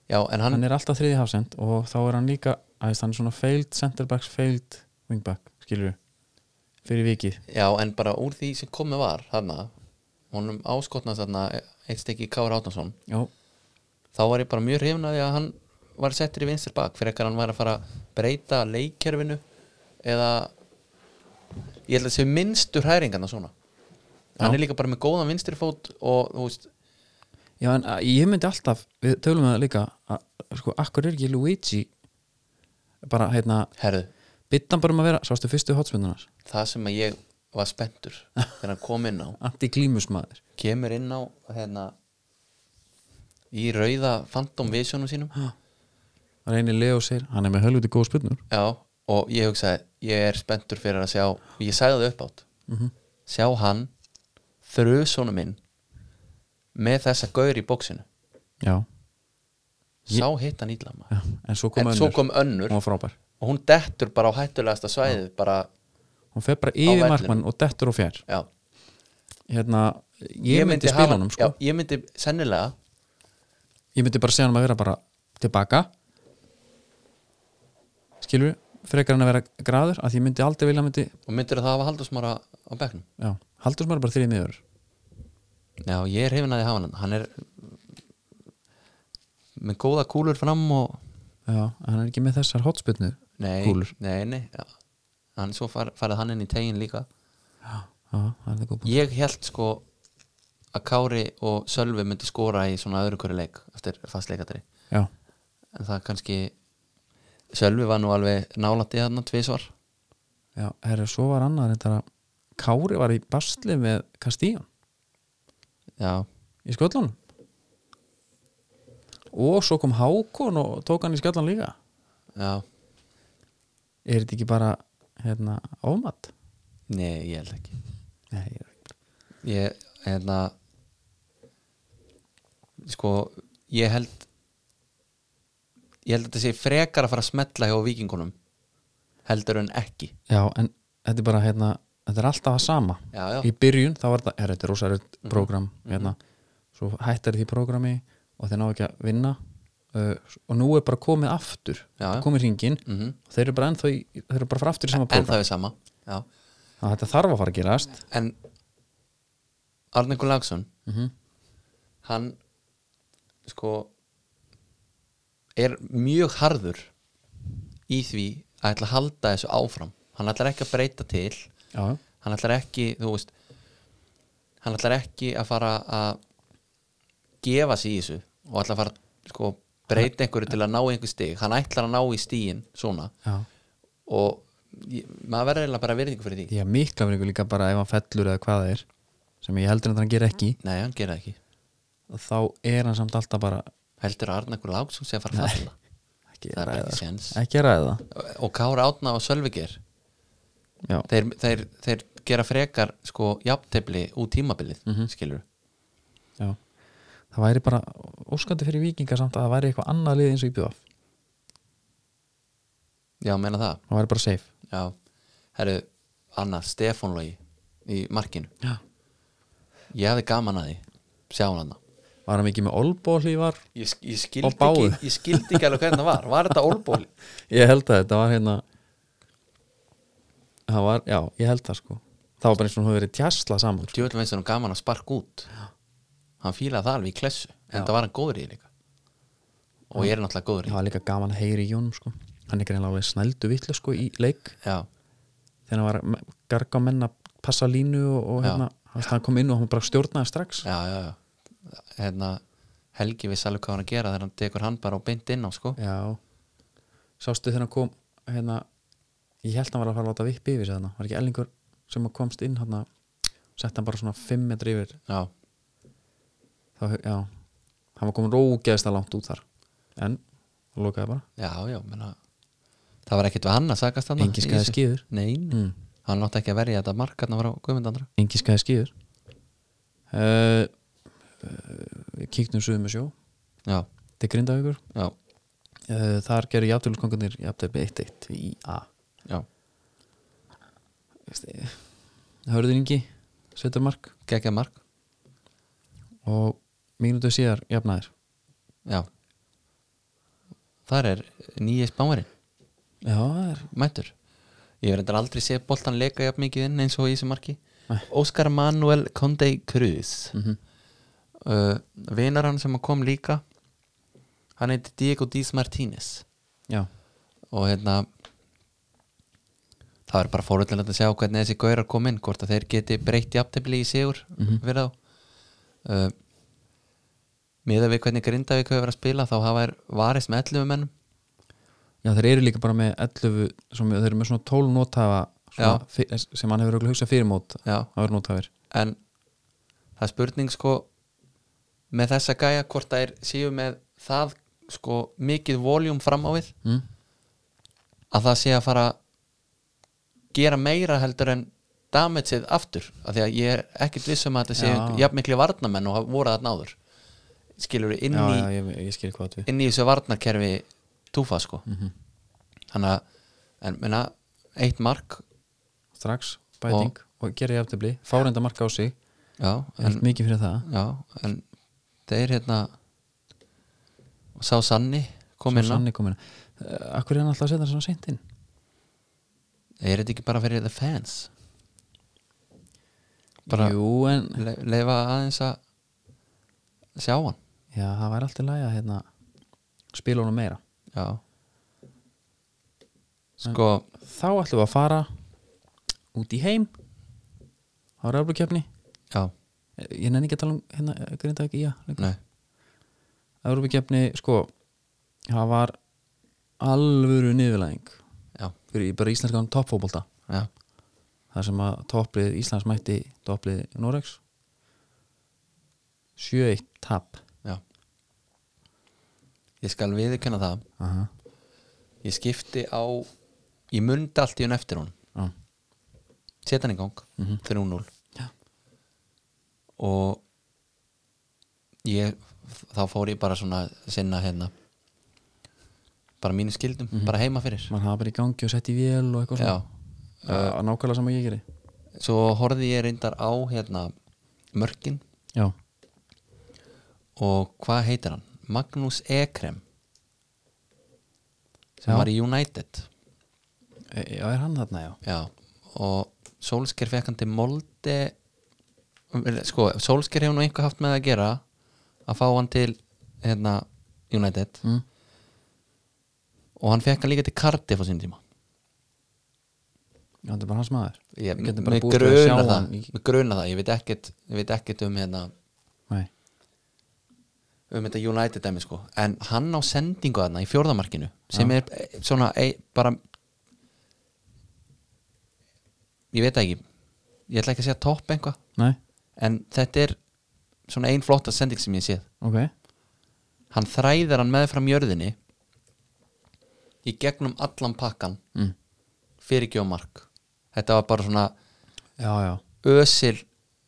[SPEAKER 2] Já, en hann,
[SPEAKER 1] hann, er alltaf þriðji hafsend og þá er hann líka að hann er svona failed center backs failed wingback skilur við fyrir vikið
[SPEAKER 2] já, en bara úr því sem komið var þarna, honum áskotnað þarna eitt stykki Kára Átnason
[SPEAKER 1] já
[SPEAKER 2] þá var ég bara mjög hrifin að því að hann var settur í vinstir bak fyrir ekkert hann var að fara að breyta leikkerfinu eða ég held að þessi minnstur hæringarna svona hann
[SPEAKER 1] Já.
[SPEAKER 2] er líka bara með góðan vinstri fót og þú veist,
[SPEAKER 1] Já, en að- ég myndi alltaf, við tölum með það líka að, sko, akkur er ekki Luigi bara, hérna
[SPEAKER 2] herðu
[SPEAKER 1] byttan bara um að vera, sástu fyrstu hotspununar
[SPEAKER 2] það sem að ég var spenntur þegar hann kom inn á
[SPEAKER 1] antiklímusmaður
[SPEAKER 2] kemur inn á hérna, í rauða Phantom Visionum sínum
[SPEAKER 1] reynir Leo sér, hann er með helviti góð spurnur
[SPEAKER 2] já, og ég hugsaði ég er spenntur fyrir að sjá ég sagði það upp átt
[SPEAKER 1] Mhm.
[SPEAKER 2] sjá hann þrjusónu minn með þessa gaur í bóksinu
[SPEAKER 1] já,
[SPEAKER 2] sá hitt hann ítla maður
[SPEAKER 1] já, en svo kom
[SPEAKER 2] en
[SPEAKER 1] önnur
[SPEAKER 2] svo kom önnur
[SPEAKER 1] hún var frábær,
[SPEAKER 2] og hún dettur bara á hættulegasta svæðið bara,
[SPEAKER 1] hún fer bara yfir
[SPEAKER 2] vellinum.
[SPEAKER 1] markmann og dettur og fjær
[SPEAKER 2] já
[SPEAKER 1] hérna, ég, myndi,
[SPEAKER 2] hafa-
[SPEAKER 1] spila honum sko.
[SPEAKER 2] já, ég myndi sennilega
[SPEAKER 1] ég myndi bara segja hann að vera bara tilbaka skilur, frekar hann að vera graður að ég myndi aldrei vilja hann myndi
[SPEAKER 2] og myndir það hafa haldursmára á bekknum
[SPEAKER 1] já, haldur sem bara þrið miður
[SPEAKER 2] Já, ég er hefin að því hafa hann Hann er með góða kúlur fram og
[SPEAKER 1] Já, hann er ekki með þessar hotspinnu
[SPEAKER 2] Nei,
[SPEAKER 1] Kúlur.
[SPEAKER 2] nei, nei já. Hann svo far, farið hann inn í tegin líka
[SPEAKER 1] Já, já, hann er góð búin
[SPEAKER 2] Ég held sko að Kári og Sölvi myndi skora í svona öðru hverju leik eftir fastleikatri
[SPEAKER 1] Já,
[SPEAKER 2] en það kannski Sölvi var nú alveg nálætti þarna tvisvar
[SPEAKER 1] já, herri, svo var annar þetta að Kári var í basli með Kastíjan
[SPEAKER 2] Já,
[SPEAKER 1] í sköllunum og svo kom Hákon og tók hann í sköllan líka
[SPEAKER 2] já,
[SPEAKER 1] Er þetta ekki bara, hérna, ámat?
[SPEAKER 2] nei, ég held ekki
[SPEAKER 1] Nei, ég
[SPEAKER 2] Ég, hérna Sko, ég held Ég held að þetta sé frekar að fara að smetla hjá vikingunum Heldur en ekki
[SPEAKER 1] Já, en þetta er bara, hérna, þetta er alltaf að sama
[SPEAKER 2] Já, já,
[SPEAKER 1] Í byrjun þá var þetta, herri, þetta er rosaröld program, hérna Svo hættar því programmi og þeir ná ekki að vinna uh, og nú er bara komið aftur
[SPEAKER 2] Já, já.
[SPEAKER 1] komið hringin
[SPEAKER 2] mm
[SPEAKER 1] og þeir eru bara ennþá í, þeir eru bara frá aftur í sama
[SPEAKER 2] en
[SPEAKER 1] prógram
[SPEAKER 2] það er sama já.
[SPEAKER 1] þannig að þetta þarf að fara að gerast
[SPEAKER 2] En Arne Gullagsson
[SPEAKER 1] mm -hmm.
[SPEAKER 2] Hann Sko Er mjög harður Í því að ætla að halda þessu áfram Hann ætlar ekki að breyta til
[SPEAKER 1] já,
[SPEAKER 2] hann ætlar ekki þú veist hann ætlar ekki að fara að gefa sig í þessu og ætlar að fara sko breyta einhverju til að ná einhver stig hann ætlar að ná í stíin svona
[SPEAKER 1] já,
[SPEAKER 2] og ég, maður verður eiginlega bara virðingu fyrir því
[SPEAKER 1] ég hef mikla verið líka bara ef hann fellur eða hvað það er sem ég heldur að hann ger ekki
[SPEAKER 2] nei, hann gera það ekki
[SPEAKER 1] þá er hann samt alltaf bara
[SPEAKER 2] heldur að Arna Gull Áksson sé að fara að falla
[SPEAKER 1] ekki
[SPEAKER 2] það er bara
[SPEAKER 1] ræða
[SPEAKER 2] ekki
[SPEAKER 1] sko.
[SPEAKER 2] séns
[SPEAKER 1] ekki ræða
[SPEAKER 2] og Kára Átna og Sölvigir
[SPEAKER 1] já,
[SPEAKER 2] þeir, þeir, þeir gera frekar sko jafntefli út tímabilið mm skilur
[SPEAKER 1] já. það væri bara óskandi fyrir vikingar samt að það væri eitthvað annað lið eins og íbjöð
[SPEAKER 2] já, meina það
[SPEAKER 1] það væri bara safe
[SPEAKER 2] já, herru, annað Stefán Lógi í markinu
[SPEAKER 1] já.
[SPEAKER 2] ég hefði gaman að því, sjá hann hann
[SPEAKER 1] var hann ekki með olbóli var
[SPEAKER 2] ég, sk- ég,
[SPEAKER 1] Og
[SPEAKER 2] skildi
[SPEAKER 1] báðu.
[SPEAKER 2] ekki, ég skildi ekki alveg hvernig það var var þetta ólból
[SPEAKER 1] ég held að þetta var hérna það var, já, ég held það sko það var bara eins og hún hefur verið tjasla saman sko.
[SPEAKER 2] djöðlega veist hann gaman að sparka út hann fílaði það alveg í klessu en það var hann góður í því líka og ég er náttúrulega góður í
[SPEAKER 1] það var líka gaman að heyri í jónum sko hann er greinlega alveg snældu vittlu sko í leik
[SPEAKER 2] já,
[SPEAKER 1] þegar hann var að garga á menn að passa línu og, og hérna, þú veist, hann kom inn og hann bara stjórnaði strax
[SPEAKER 2] já, já, já. hérna Helgi vissi alveg hvað hann að gera þegar hann tekur hann bara og beint inn á sko
[SPEAKER 1] Já Sástu þegar hann kom hérna, Ég held hann var að fara að láta vippi yfir sig þarna Var ekki ellingur sem að komst inn hérna, Sett hann bara svona 5 metri yfir
[SPEAKER 2] já,
[SPEAKER 1] Þá, Já Hann var komin rógeðslega langt út þar En, hann lokaði bara
[SPEAKER 2] Já, já, menna Það var ekkert við hann að sagast hann
[SPEAKER 1] Engi skæði skýður
[SPEAKER 2] Nei, nei.
[SPEAKER 1] mm.
[SPEAKER 2] hann látti ekki að verja þetta markarna frá Guðmundandra
[SPEAKER 1] Engi skæði skýður uh, uh, Við kíktum suðum með sjó
[SPEAKER 2] Já,
[SPEAKER 1] Til grindavíkur
[SPEAKER 2] já,
[SPEAKER 1] uh, Þar gerðu jafntöluskongunir Jafntölu 1-1 í A
[SPEAKER 2] já
[SPEAKER 1] Hörður Ingi Svetur mark
[SPEAKER 2] Gekka mark,
[SPEAKER 1] og mínútu síðar jafnaðir
[SPEAKER 2] já Þar er nýja spámarinn,
[SPEAKER 1] já, það er
[SPEAKER 2] mættur Ég verður þetta aldrei séð boltan leika jafn mikið inn eins og í þessu marki Óskar Manuel Conde Cruz
[SPEAKER 1] mm
[SPEAKER 2] uh, Vinar hann sem kom líka Hann heiti Diego Díaz Martínez
[SPEAKER 1] já,
[SPEAKER 2] og hérna það er bara fórhaldilegt að sjá hvernig þessi gaurar kom inn, hvort að þeir geti breytt jafntefli í sigur mm -hmm. við þá uh, miða við hvernig Grindavík hefur verið að spila þá hafa þeir varist með 11 menn
[SPEAKER 1] já, þeir eru líka bara með 11 sem, þeir eru með svona 12 nóthafa
[SPEAKER 2] Já.
[SPEAKER 1] svona, fyr- sem hann hefur örugglega hugsað fyrir mót
[SPEAKER 2] Já,
[SPEAKER 1] að vera nóthafir
[SPEAKER 2] en það er spurning sko með þessa gæja hvort að þeir séu með það sko mikið voljum fram á við
[SPEAKER 1] mm?
[SPEAKER 2] að það sé að fara að gera meira heldur en damageið aftur af því að ég er ekkert vissum að þetta sé
[SPEAKER 1] Já.
[SPEAKER 2] jafn mikli varnamenn og hafa- voru þarna áður skilur við inn,
[SPEAKER 1] já,
[SPEAKER 2] í,
[SPEAKER 1] já, Mhm. ég, ég skil hvað við
[SPEAKER 2] inn í þessu varnarkerfi túfa sko þannig að en, minna, eitt mark
[SPEAKER 1] strax, bæting og, og gerir jafntöfli, fárenda marka á sig
[SPEAKER 2] já, en,
[SPEAKER 1] held mikið fyrir það
[SPEAKER 2] já, en þeir hérna og sá Sanni kom hérna. inn á
[SPEAKER 1] Sanni komin uh, Akkur er hann alltaf að setja hann svona seint inn
[SPEAKER 2] er þetta ekki bara fyrir the fans Bara-
[SPEAKER 1] Jú, en
[SPEAKER 2] Le, leifa aðeins að sjá hann
[SPEAKER 1] já, það væri alltaf lægja hérna, spila honum meira
[SPEAKER 2] Já Sko,
[SPEAKER 1] þá ætlum við að fara út í heim á ræðblókjöfni
[SPEAKER 2] já,
[SPEAKER 1] ég nenni ekki að tala um hérna grinda ekki, já,
[SPEAKER 2] nei
[SPEAKER 1] Európakefni, sko það var alvöru niðurlæðing
[SPEAKER 2] Já,
[SPEAKER 1] fyrir bara íslenskan toppfótbolta
[SPEAKER 2] já,
[SPEAKER 1] þar sem að topplið Íslands mætti topplið Norex 7-1 tap
[SPEAKER 2] já Ég skal viðurkenna það
[SPEAKER 1] Aha.
[SPEAKER 2] Ég skipti á Ég mundi allt í hún eftir hún
[SPEAKER 1] Já.
[SPEAKER 2] Seta hann í gang, 3-0
[SPEAKER 1] Mhm. Já.
[SPEAKER 2] Og Ég, þá fór ég bara svona að Sinna hérna Bara mínu skildum,
[SPEAKER 1] Mhm.
[SPEAKER 2] bara heima fyrir
[SPEAKER 1] maður hafa bara í gangi og sett í vél og eitthvað
[SPEAKER 2] Já,
[SPEAKER 1] svona uh, nákvæmlega saman ég geri
[SPEAKER 2] svo horfði ég reyndar á hérna Mörkin
[SPEAKER 1] já,
[SPEAKER 2] og hvað heitir hann? Magnús Ekrem sem
[SPEAKER 1] Já.
[SPEAKER 2] var í United
[SPEAKER 1] e já er hann þarna, já
[SPEAKER 2] já, og Solskjær fekk hann til Molde sko, Solskjær hefur nú einhver haft með að gera að fá hann til hérna, United
[SPEAKER 1] mm.
[SPEAKER 2] og hann fekk hann líka til Cardiff á sín tíma
[SPEAKER 1] já, þetta er bara hans maður
[SPEAKER 2] ég,
[SPEAKER 1] Við getum bara
[SPEAKER 2] mig
[SPEAKER 1] búist við að sjá
[SPEAKER 2] gruna það,
[SPEAKER 1] hann í-
[SPEAKER 2] mig gruna það ég veit ekkert, ég veit ekkert um hérna,
[SPEAKER 1] nei,
[SPEAKER 2] um þetta United dæmi sko en hann eh, á sendingu þarna í fjórðamarkinu sem er eh, svona ei, bara ég veit það ekki ég ætla ekki að segja topp einhvað
[SPEAKER 1] nei,
[SPEAKER 2] en þetta er svona ein flotta sending sem ég séð
[SPEAKER 1] ok
[SPEAKER 2] hann þræðir hann meðfram jörðinni í gegnum allan pakkan
[SPEAKER 1] mm.
[SPEAKER 2] fyrir ekki á mark þetta var bara svona
[SPEAKER 1] já, já,
[SPEAKER 2] ösil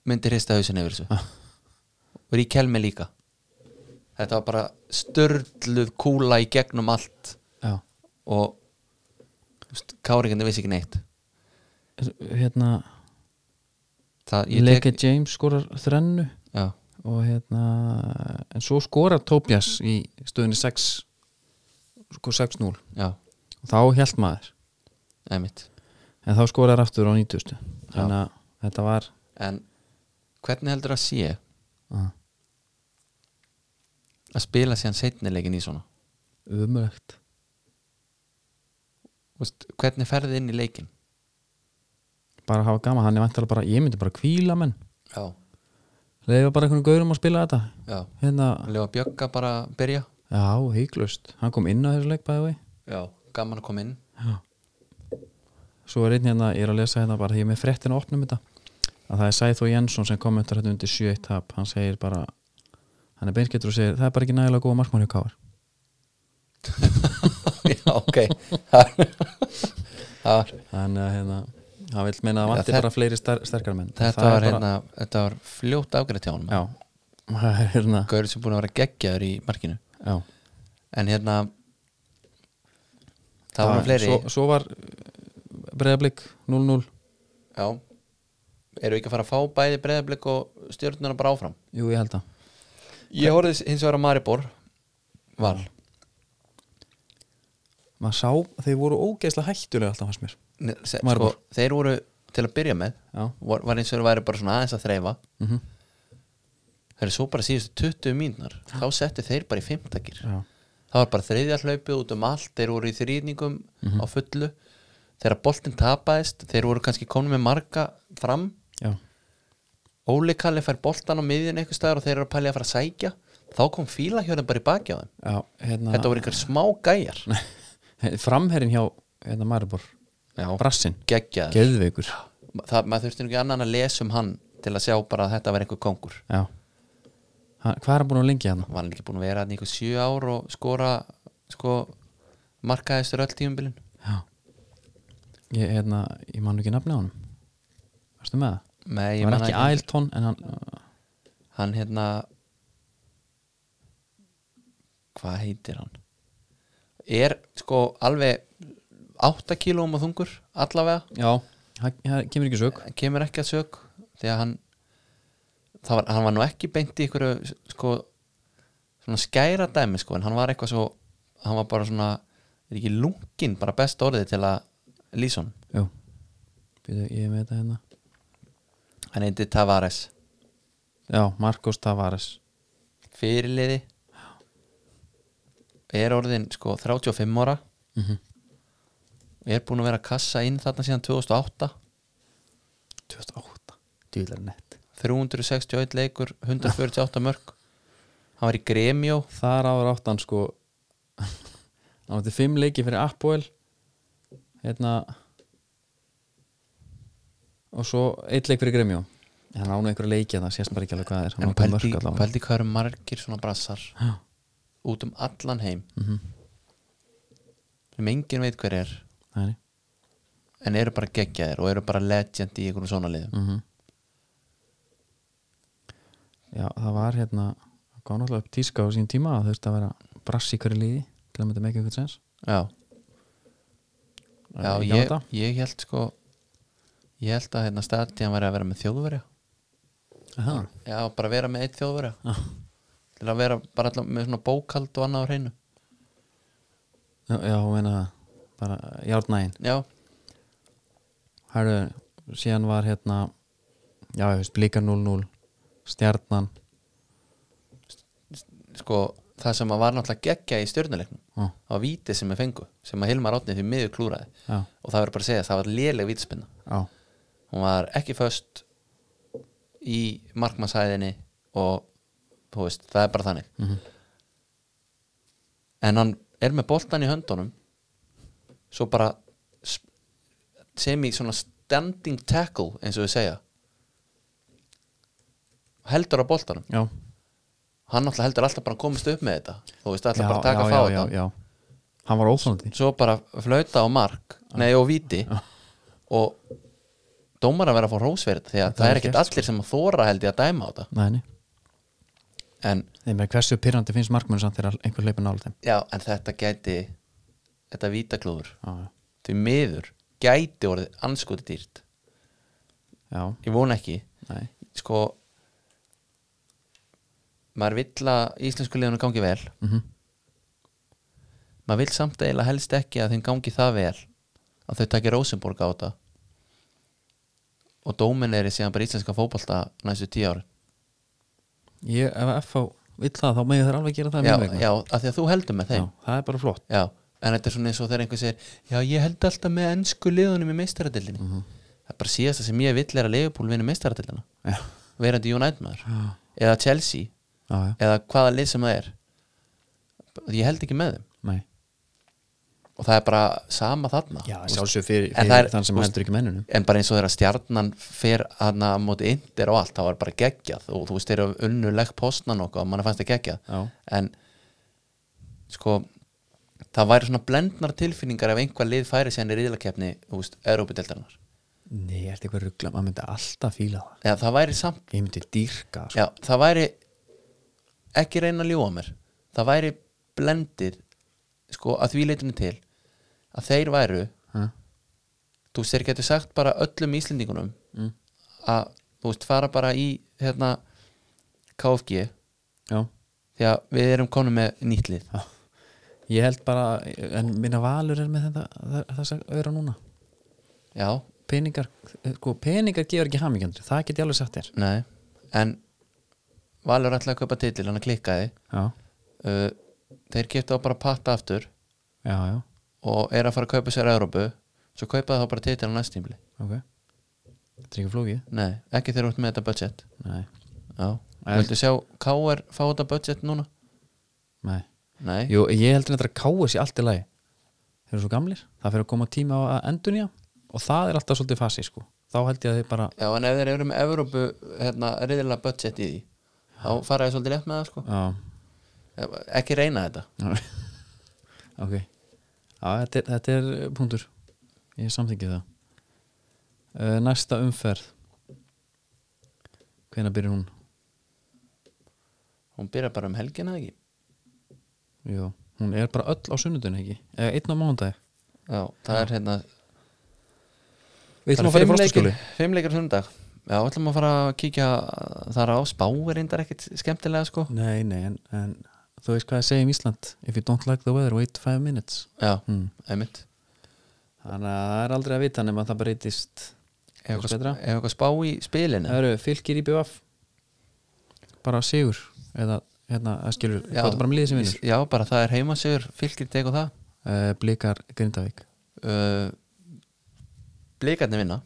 [SPEAKER 2] myndi hrista hausin yfir þessu
[SPEAKER 1] Ah.
[SPEAKER 2] og Ríkelmi líka þetta var bara störluð kúla í gegnum allt
[SPEAKER 1] já
[SPEAKER 2] og káringandi vissi ekki neitt
[SPEAKER 1] hérna,
[SPEAKER 2] það, ég
[SPEAKER 1] Leke
[SPEAKER 2] tek,
[SPEAKER 1] James skorar þrennu
[SPEAKER 2] já,
[SPEAKER 1] og hérna en svo skorar Tobias í stöðunni 6 sko 6-0 og
[SPEAKER 2] já,
[SPEAKER 1] þá held maður
[SPEAKER 2] einmitt
[SPEAKER 1] en þá skorar aftur á 90 þannig að þetta var
[SPEAKER 2] en hvernig heldur að sé
[SPEAKER 1] uh,
[SPEAKER 2] að spila síðan seinnilegin í svona
[SPEAKER 1] umrækt
[SPEAKER 2] Vist, hvernig ferði inn í leikin
[SPEAKER 1] bara að hafa gaman, hann er vantilega bara ég myndi bara kvíla menn,
[SPEAKER 2] já,
[SPEAKER 1] leifa bara einhvern gaurum að spila þetta
[SPEAKER 2] já,
[SPEAKER 1] hérna,
[SPEAKER 2] hann lefa bjögga bara að byrja
[SPEAKER 1] já, heiklaust hann kom inn á þessu leik bæði vei
[SPEAKER 2] já, gaman að koma inn
[SPEAKER 1] svo er einn hérna, ég er að lesa hérna bara því ég er með fréttina að opna um þetta að það er Sæþó Jensson sem kommentar hérna undir 7-1 tap, hann segir bara hann er beinskettur og segir, það er bara ekki nægilega góða markmann hjá Káar
[SPEAKER 2] já, ok það var
[SPEAKER 1] þannig að hérna, hann vil meina að
[SPEAKER 2] Já,
[SPEAKER 1] vanti
[SPEAKER 2] þetta-
[SPEAKER 1] bara fleiri star, sterkar menn
[SPEAKER 2] Þetta
[SPEAKER 1] Það er
[SPEAKER 2] var,
[SPEAKER 1] bara-
[SPEAKER 2] hérna, þetta var fljótt afgrætt hjá honum
[SPEAKER 1] já, það er hérna
[SPEAKER 2] Gaur sem búin að vera geggjaður í markinu
[SPEAKER 1] já,
[SPEAKER 2] En hérna Það voru fleiri
[SPEAKER 1] svo, svo var eh, breyðablík 0-0
[SPEAKER 2] Já Eru ekki að fara að fá bæði breyðablik og stjórnuna bara áfram
[SPEAKER 1] jú, ég held að
[SPEAKER 2] Ég horfði hins vegar að Maribor Val
[SPEAKER 1] maður sá, þeir voru ógeðslega hættulega alltaf hans mér
[SPEAKER 2] Nei, se- sko,
[SPEAKER 1] Maribor.
[SPEAKER 2] Þeir voru til að byrja með
[SPEAKER 1] já,
[SPEAKER 2] var, var eins og þeir væri bara svona aðeins að þreifa
[SPEAKER 1] mm
[SPEAKER 2] Þeir eru svo bara síðustu 20 mínúnar Þá settu þeir bara í fimmtakir
[SPEAKER 1] já.
[SPEAKER 2] það var bara þriðja hlaupið út um allt þeir voru í þrýningum
[SPEAKER 1] Mhm.
[SPEAKER 2] á fullu þegar boltinn tapaðist þeir voru kannski konum með marga fram
[SPEAKER 1] já,
[SPEAKER 2] Óli Kalli fær boltan á miðjun einhver staðar og þeir eru að pæli að fara að sækja þá kom fíla hjörðin bara í baki á þeim
[SPEAKER 1] já, hérna
[SPEAKER 2] þetta voru einhver smá gæjar
[SPEAKER 1] framherrin hjá hérna Maribor,
[SPEAKER 2] já,
[SPEAKER 1] Brassin
[SPEAKER 2] geggjaður
[SPEAKER 1] Geðveikur
[SPEAKER 2] það, maður þurfti nú ekki annan að lesa um hann til að sjá bara að þetta var einhver kongur
[SPEAKER 1] Já Ha- Hvað er hann búin að lengi hérna?
[SPEAKER 2] var hann ekki búin að vera hann einhver sjö ár og skora sko markaðistur öll tíumbilin
[SPEAKER 1] Já Ég, hérna, ég man ekki nafni á hann Varstu með það?
[SPEAKER 2] Nei, ég
[SPEAKER 1] Það var
[SPEAKER 2] man
[SPEAKER 1] ekki
[SPEAKER 2] það
[SPEAKER 1] Ailton en hann
[SPEAKER 2] hann hérna hvað heitir hann er sko alveg 8 kílóum og þungur allavega,
[SPEAKER 1] Já Það það kemur ekki sög
[SPEAKER 2] hann kemur ekki að sök því að hann það var, hann var nú ekki beint í ykkur sko, svona skæra dæmi sko, en hann var eitthvað svo hann var bara svona, er ekki lungin bara best orðið til að lýsa hann
[SPEAKER 1] Jú Býtu, ég er með þetta hérna
[SPEAKER 2] hann heiti Tavares,
[SPEAKER 1] Já, Marcos Tavares
[SPEAKER 2] fyrirliði er orðin sko 35 ára
[SPEAKER 1] mm -hmm.
[SPEAKER 2] Ég er búin að vera að kassa inn þarna síðan 2008
[SPEAKER 1] 2008 Dýlar nett
[SPEAKER 2] 361 leikur, 148 mörg Hann var í Gremjó
[SPEAKER 1] Þar áður átt hann sko Hann átti fimm leiki fyrir Apoel Hérna Og svo eitt leik fyrir Gremjó Hann án einhverja leiki það sést bara ekki alveg hvað það er Hann
[SPEAKER 2] En
[SPEAKER 1] átti
[SPEAKER 2] pældi,
[SPEAKER 1] mörk allavega.
[SPEAKER 2] pældi hvað eru margir svona brassar
[SPEAKER 1] Já,
[SPEAKER 2] út um allan heim
[SPEAKER 1] mhm,
[SPEAKER 2] sem enginn veit hver er
[SPEAKER 1] það er í.
[SPEAKER 2] en eru bara geggjaðir og eru bara legend í einhvern svona liðum
[SPEAKER 1] Mhm. Já, það var hérna það Gáði náttúrulega upp tíska á sín tíma að þurfti að vera brass í hverju liði til að mynda með ekki eitthvað sens
[SPEAKER 2] Já,
[SPEAKER 1] Í
[SPEAKER 2] Já
[SPEAKER 1] gamla
[SPEAKER 2] ég,
[SPEAKER 1] daga.
[SPEAKER 2] ég held sko ég held að hérna staðtíðan væri að vera með þjóðverja
[SPEAKER 1] Aha.
[SPEAKER 2] Já, bara vera með eitt þjóðverja
[SPEAKER 1] Já.
[SPEAKER 2] til að vera bara allan með svona bókald og annað á hreinu
[SPEAKER 1] Já, já, hún meina það bara járnægin
[SPEAKER 2] Já,
[SPEAKER 1] Hæru, síðan var hérna já, ég veist, blika 0-0 stjarnan
[SPEAKER 2] sko það sem að var náttúrulega geggja í stjörnuleiknum
[SPEAKER 1] Ó,
[SPEAKER 2] það var víti sem við fengu sem að Hilmar Átni því miður klúraði
[SPEAKER 1] já,
[SPEAKER 2] og það verður bara að segja að það var léleg vítaspinna
[SPEAKER 1] já,
[SPEAKER 2] hún var ekki föst í markmannshæðinni og þú veist, það er bara þannig
[SPEAKER 1] Mhm.
[SPEAKER 2] en hann er með boltan í höndunum svo bara s- sem í svona s- standing tackle eins og við segja heldur á boltanum
[SPEAKER 1] já,
[SPEAKER 2] hann náttúrulega heldur alltaf bara að komast upp með þetta þú veist, alltaf
[SPEAKER 1] já,
[SPEAKER 2] bara að taka
[SPEAKER 1] já,
[SPEAKER 2] að fá
[SPEAKER 1] já,
[SPEAKER 2] þetta
[SPEAKER 1] já, já. hann var óþólandi
[SPEAKER 2] svo bara flauta á mark nei og viti og dómar að vera að fá rósverð því að það,
[SPEAKER 1] er
[SPEAKER 2] er ekkert
[SPEAKER 1] gert,
[SPEAKER 2] allir sem að þóra held ég að dæma á þetta
[SPEAKER 1] Nei, nei.
[SPEAKER 2] en,
[SPEAKER 1] Nei, með hversu pyrrandi finnst markmönnum samt þegar einhver leipur nála þeim
[SPEAKER 2] já, en þetta gæti þetta vítaklúður
[SPEAKER 1] já,
[SPEAKER 2] því miður gæti orðið anskoti dýrt
[SPEAKER 1] já,
[SPEAKER 2] ég vona ekki
[SPEAKER 1] nei,
[SPEAKER 2] sko maður vill að íslensku liðunum gangi vel
[SPEAKER 1] Mhm.
[SPEAKER 2] maður vill samt eiginlega helst ekki að þeim gangi það vel að þau takir Rosenborg á þetta og dómin er síðan bara íslenska fótbolta næstu tíu ári
[SPEAKER 1] ég, ef að FH vill það, þá megið þeir alveg gera það
[SPEAKER 2] já,
[SPEAKER 1] mín vegna.
[SPEAKER 2] já, að því að þú heldur með
[SPEAKER 1] já,
[SPEAKER 2] þeim já.
[SPEAKER 1] það er bara flott
[SPEAKER 2] en þetta er svona eins og þegar einhver segir já, ég held alltaf með ennsku liðunum í meistaradildinni það er bara síðasta sem ég vill er að Leifupúl vinni meistaradildina
[SPEAKER 1] já,
[SPEAKER 2] verandi United maður
[SPEAKER 1] já,
[SPEAKER 2] eða Chelsea
[SPEAKER 1] já, já.
[SPEAKER 2] eða hvaða lið sem það er ég held ekki með þeim
[SPEAKER 1] nei
[SPEAKER 2] og það er bara sama þarna
[SPEAKER 1] já,
[SPEAKER 2] Þú veist,
[SPEAKER 1] sjálfsög fyrir,
[SPEAKER 2] en það
[SPEAKER 1] fyrir
[SPEAKER 2] er-
[SPEAKER 1] þann sem
[SPEAKER 2] þú veist-
[SPEAKER 1] heldur ekki mennunum
[SPEAKER 2] en bara eins og þeirra stjarnan fer hana móti indir og allt, það var bara geggjað og þú veist þeirra unnuleg postna nokkuð og mann fannst það geggjað
[SPEAKER 1] já,
[SPEAKER 2] en sko það væri svona blendnar tilfinningar ef einhvað lið færi sér í riðlakefni, þú veist, Európa-deltarnar
[SPEAKER 1] nei, er þetta eitthvað ruggla, maður myndi alltaf fíla það
[SPEAKER 2] eða það væri samt
[SPEAKER 1] ég myndi dýrka sko.
[SPEAKER 2] Já, það væri ekki reyna að ljúa mér það væri blendið sko að því leitinu til að þeir væru,
[SPEAKER 1] Ha?
[SPEAKER 2] þú veist þeir getur sagt bara öllum Íslendingunum
[SPEAKER 1] Mm.
[SPEAKER 2] að þú veist fara bara í hérna KFG
[SPEAKER 1] já,
[SPEAKER 2] því að við erum konum með nýtlið
[SPEAKER 1] já ég held bara, en minna valur er með þetta, þess að öðra núna
[SPEAKER 2] já,
[SPEAKER 1] peningar, sko, peningar gefur ekki hamingjöndri, það get ég alveg sagt þér
[SPEAKER 2] nei en Valur ætlaði að kaupa titil hann að klikkaði
[SPEAKER 1] já,
[SPEAKER 2] uh, þeir getur á bara patta aftur
[SPEAKER 1] já, já,
[SPEAKER 2] og er að fara að kaupa sér Európu svo kaupaði þá bara titil á næstímli
[SPEAKER 1] ok þetta er ekki flókið
[SPEAKER 2] Nei, ekki þegar þú ert með þetta budget
[SPEAKER 1] nei,
[SPEAKER 2] Já, viltu sjá KR fá þetta budget núna?
[SPEAKER 1] nei,
[SPEAKER 2] Nei,
[SPEAKER 1] jú, ég heldur þetta að káa sér allt í lagi þeir eru svo gamlir, það fyrir að koma tíma á að endunja og það er alltaf svolítið fasi, sko þá held ég að þið bara,
[SPEAKER 2] já en ef þeir eru með Evrópu hérna, riðilega budget í því þá fara ég svolítið létt með það sko
[SPEAKER 1] já
[SPEAKER 2] ekki reyna þetta
[SPEAKER 1] ok já, þetta er, þetta er punktur ég samþykki það Eh, næsta umferð hvenær byrjar hún?
[SPEAKER 2] hún byrjar bara um helgina eða ekki
[SPEAKER 1] Jú, hún er bara öll á sunnudun ekki eða einn á mánudagi
[SPEAKER 2] Já, það er hérna
[SPEAKER 1] Við ætlum að fara í frostaskjóli
[SPEAKER 2] Fimmleikir sundag Já, ætlum að fara að kíkja þar á spá er reyndar ekkit skemmtilega sko
[SPEAKER 1] Nei, nei, en, en þú veist hvað ég segi um Ísland If you don't like the weather, wait five minutes
[SPEAKER 2] Já,
[SPEAKER 1] hmm.
[SPEAKER 2] einmitt
[SPEAKER 1] Þannig að það er aldrei að vita nema að það breytist
[SPEAKER 2] Ef
[SPEAKER 1] Þess betra.
[SPEAKER 2] eitthvað, ef eitthvað spá í spilinu
[SPEAKER 1] Það eru fylgir í BVF bara sigur eða hérna, það skilur,
[SPEAKER 2] Já.
[SPEAKER 1] það er bara með liðið sem vinnur
[SPEAKER 2] Já, bara það er heimasigur, fylgir tegur það
[SPEAKER 1] uh, Blikar Grindavík
[SPEAKER 2] uh, Blikarnir vinna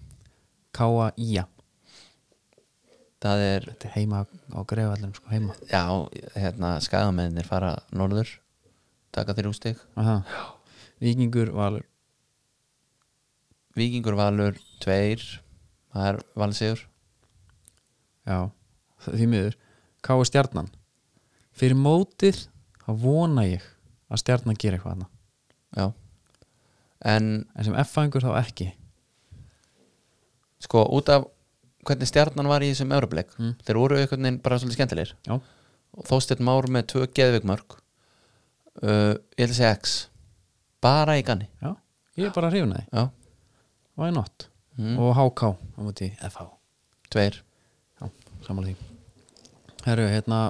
[SPEAKER 1] Káa Ía,
[SPEAKER 2] Það er,
[SPEAKER 1] þetta er heima á greiðvallum sko, heima
[SPEAKER 2] já, hérna skagamennir fara norður taka þér ústig,
[SPEAKER 1] Aha. Víkingur Valur
[SPEAKER 2] Víkingur Valur tveir, það er Valsigur
[SPEAKER 1] Já, því miður Káa Stjarnan Fyrir mótið, þá vona ég að Stjarnan gera eitthvað hana
[SPEAKER 2] já en
[SPEAKER 1] en sem F-fængur þá ekki
[SPEAKER 2] sko út af hvernig stjarnan var í þessum eurubleik
[SPEAKER 1] Mm.
[SPEAKER 2] þeir voru einhvern veginn bara svolítið skemmtilegir
[SPEAKER 1] Já,
[SPEAKER 2] og Þósteinn Már með tvö geðveikmörk uh, ég ætla að segja X bara í ganni
[SPEAKER 1] já, ég er bara hrifnaði
[SPEAKER 2] já,
[SPEAKER 1] Why not?
[SPEAKER 2] mm.
[SPEAKER 1] Og HK á móti FH
[SPEAKER 2] tveir
[SPEAKER 1] Já, samanlega því Herru, hérna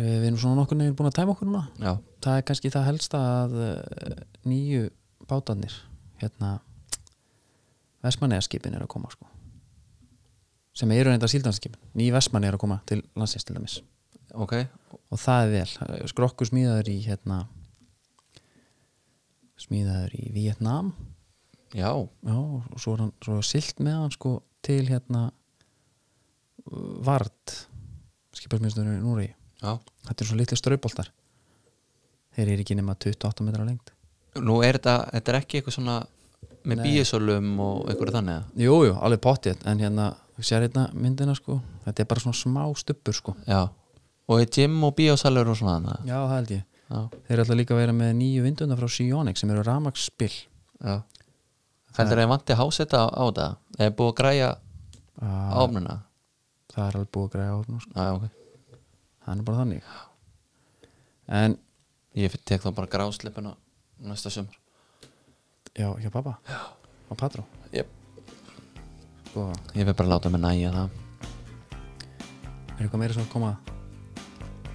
[SPEAKER 1] eh, Við erum svona nokkur neginn búin að tæma okkur núna
[SPEAKER 2] já,
[SPEAKER 1] Það er kannski það helsta að eh, nýju bátarnir hérna Vestmannegarskipin er að koma sko sem eru reynda síldanskipin nýju Vestmanni er að koma til landsins til dæmis
[SPEAKER 2] ok
[SPEAKER 1] og það er vel Eh, skrokkur smíðaður í hérna smíðaður í Vietnam
[SPEAKER 2] já,
[SPEAKER 1] já, og svo er hann svo er silt með hann sko til hérna uh, Vard skiparsmiðstöður í Núri
[SPEAKER 2] já
[SPEAKER 1] þetta er svo litli strauboltar þeir eru ekki nema 28 metra lengt
[SPEAKER 2] Nú er þetta, þetta er ekki eitthvað svona með bíosölum og einhverju þannig eða?
[SPEAKER 1] Jú, jú, alveg pottið En hérna, þú sér hérna myndina sko Þetta er bara svona smá stubbur sko
[SPEAKER 2] já, og er gym og bíosalur og svona þannig
[SPEAKER 1] Já, það held ég
[SPEAKER 2] já,
[SPEAKER 1] Þeir eru alltaf líka að vera með nýju vinduna frá Sionic sem eru ramagsspill
[SPEAKER 2] já Heldur það að ég vanti hásetta á, á það eða búið að græja
[SPEAKER 1] ah,
[SPEAKER 2] áfnuna
[SPEAKER 1] Það er alveg búið að græða ofn sko.
[SPEAKER 2] já, já, ok
[SPEAKER 1] Það er bara þannig En,
[SPEAKER 2] Ég tek þá bara grásleppin á næsta sömur
[SPEAKER 1] já, hjá pappa Já Og patró
[SPEAKER 2] yep.
[SPEAKER 1] Sko,
[SPEAKER 2] Ég vil bara láta mig næja það
[SPEAKER 1] er eitthvað meira sem að koma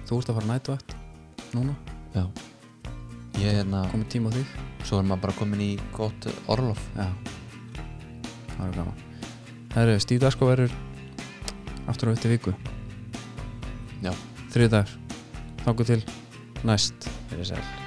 [SPEAKER 1] Þú ert að fara nættuvætt Núna,
[SPEAKER 2] Já Ég er hérna
[SPEAKER 1] komið tíma á þig
[SPEAKER 2] Svo er maður bara komin í gott orlof
[SPEAKER 1] Já Það eru gaman Herru, Stíf Dasko verður aftur á eftir viku
[SPEAKER 2] Já
[SPEAKER 1] Þriði dagur Þangu til næst Verið sæl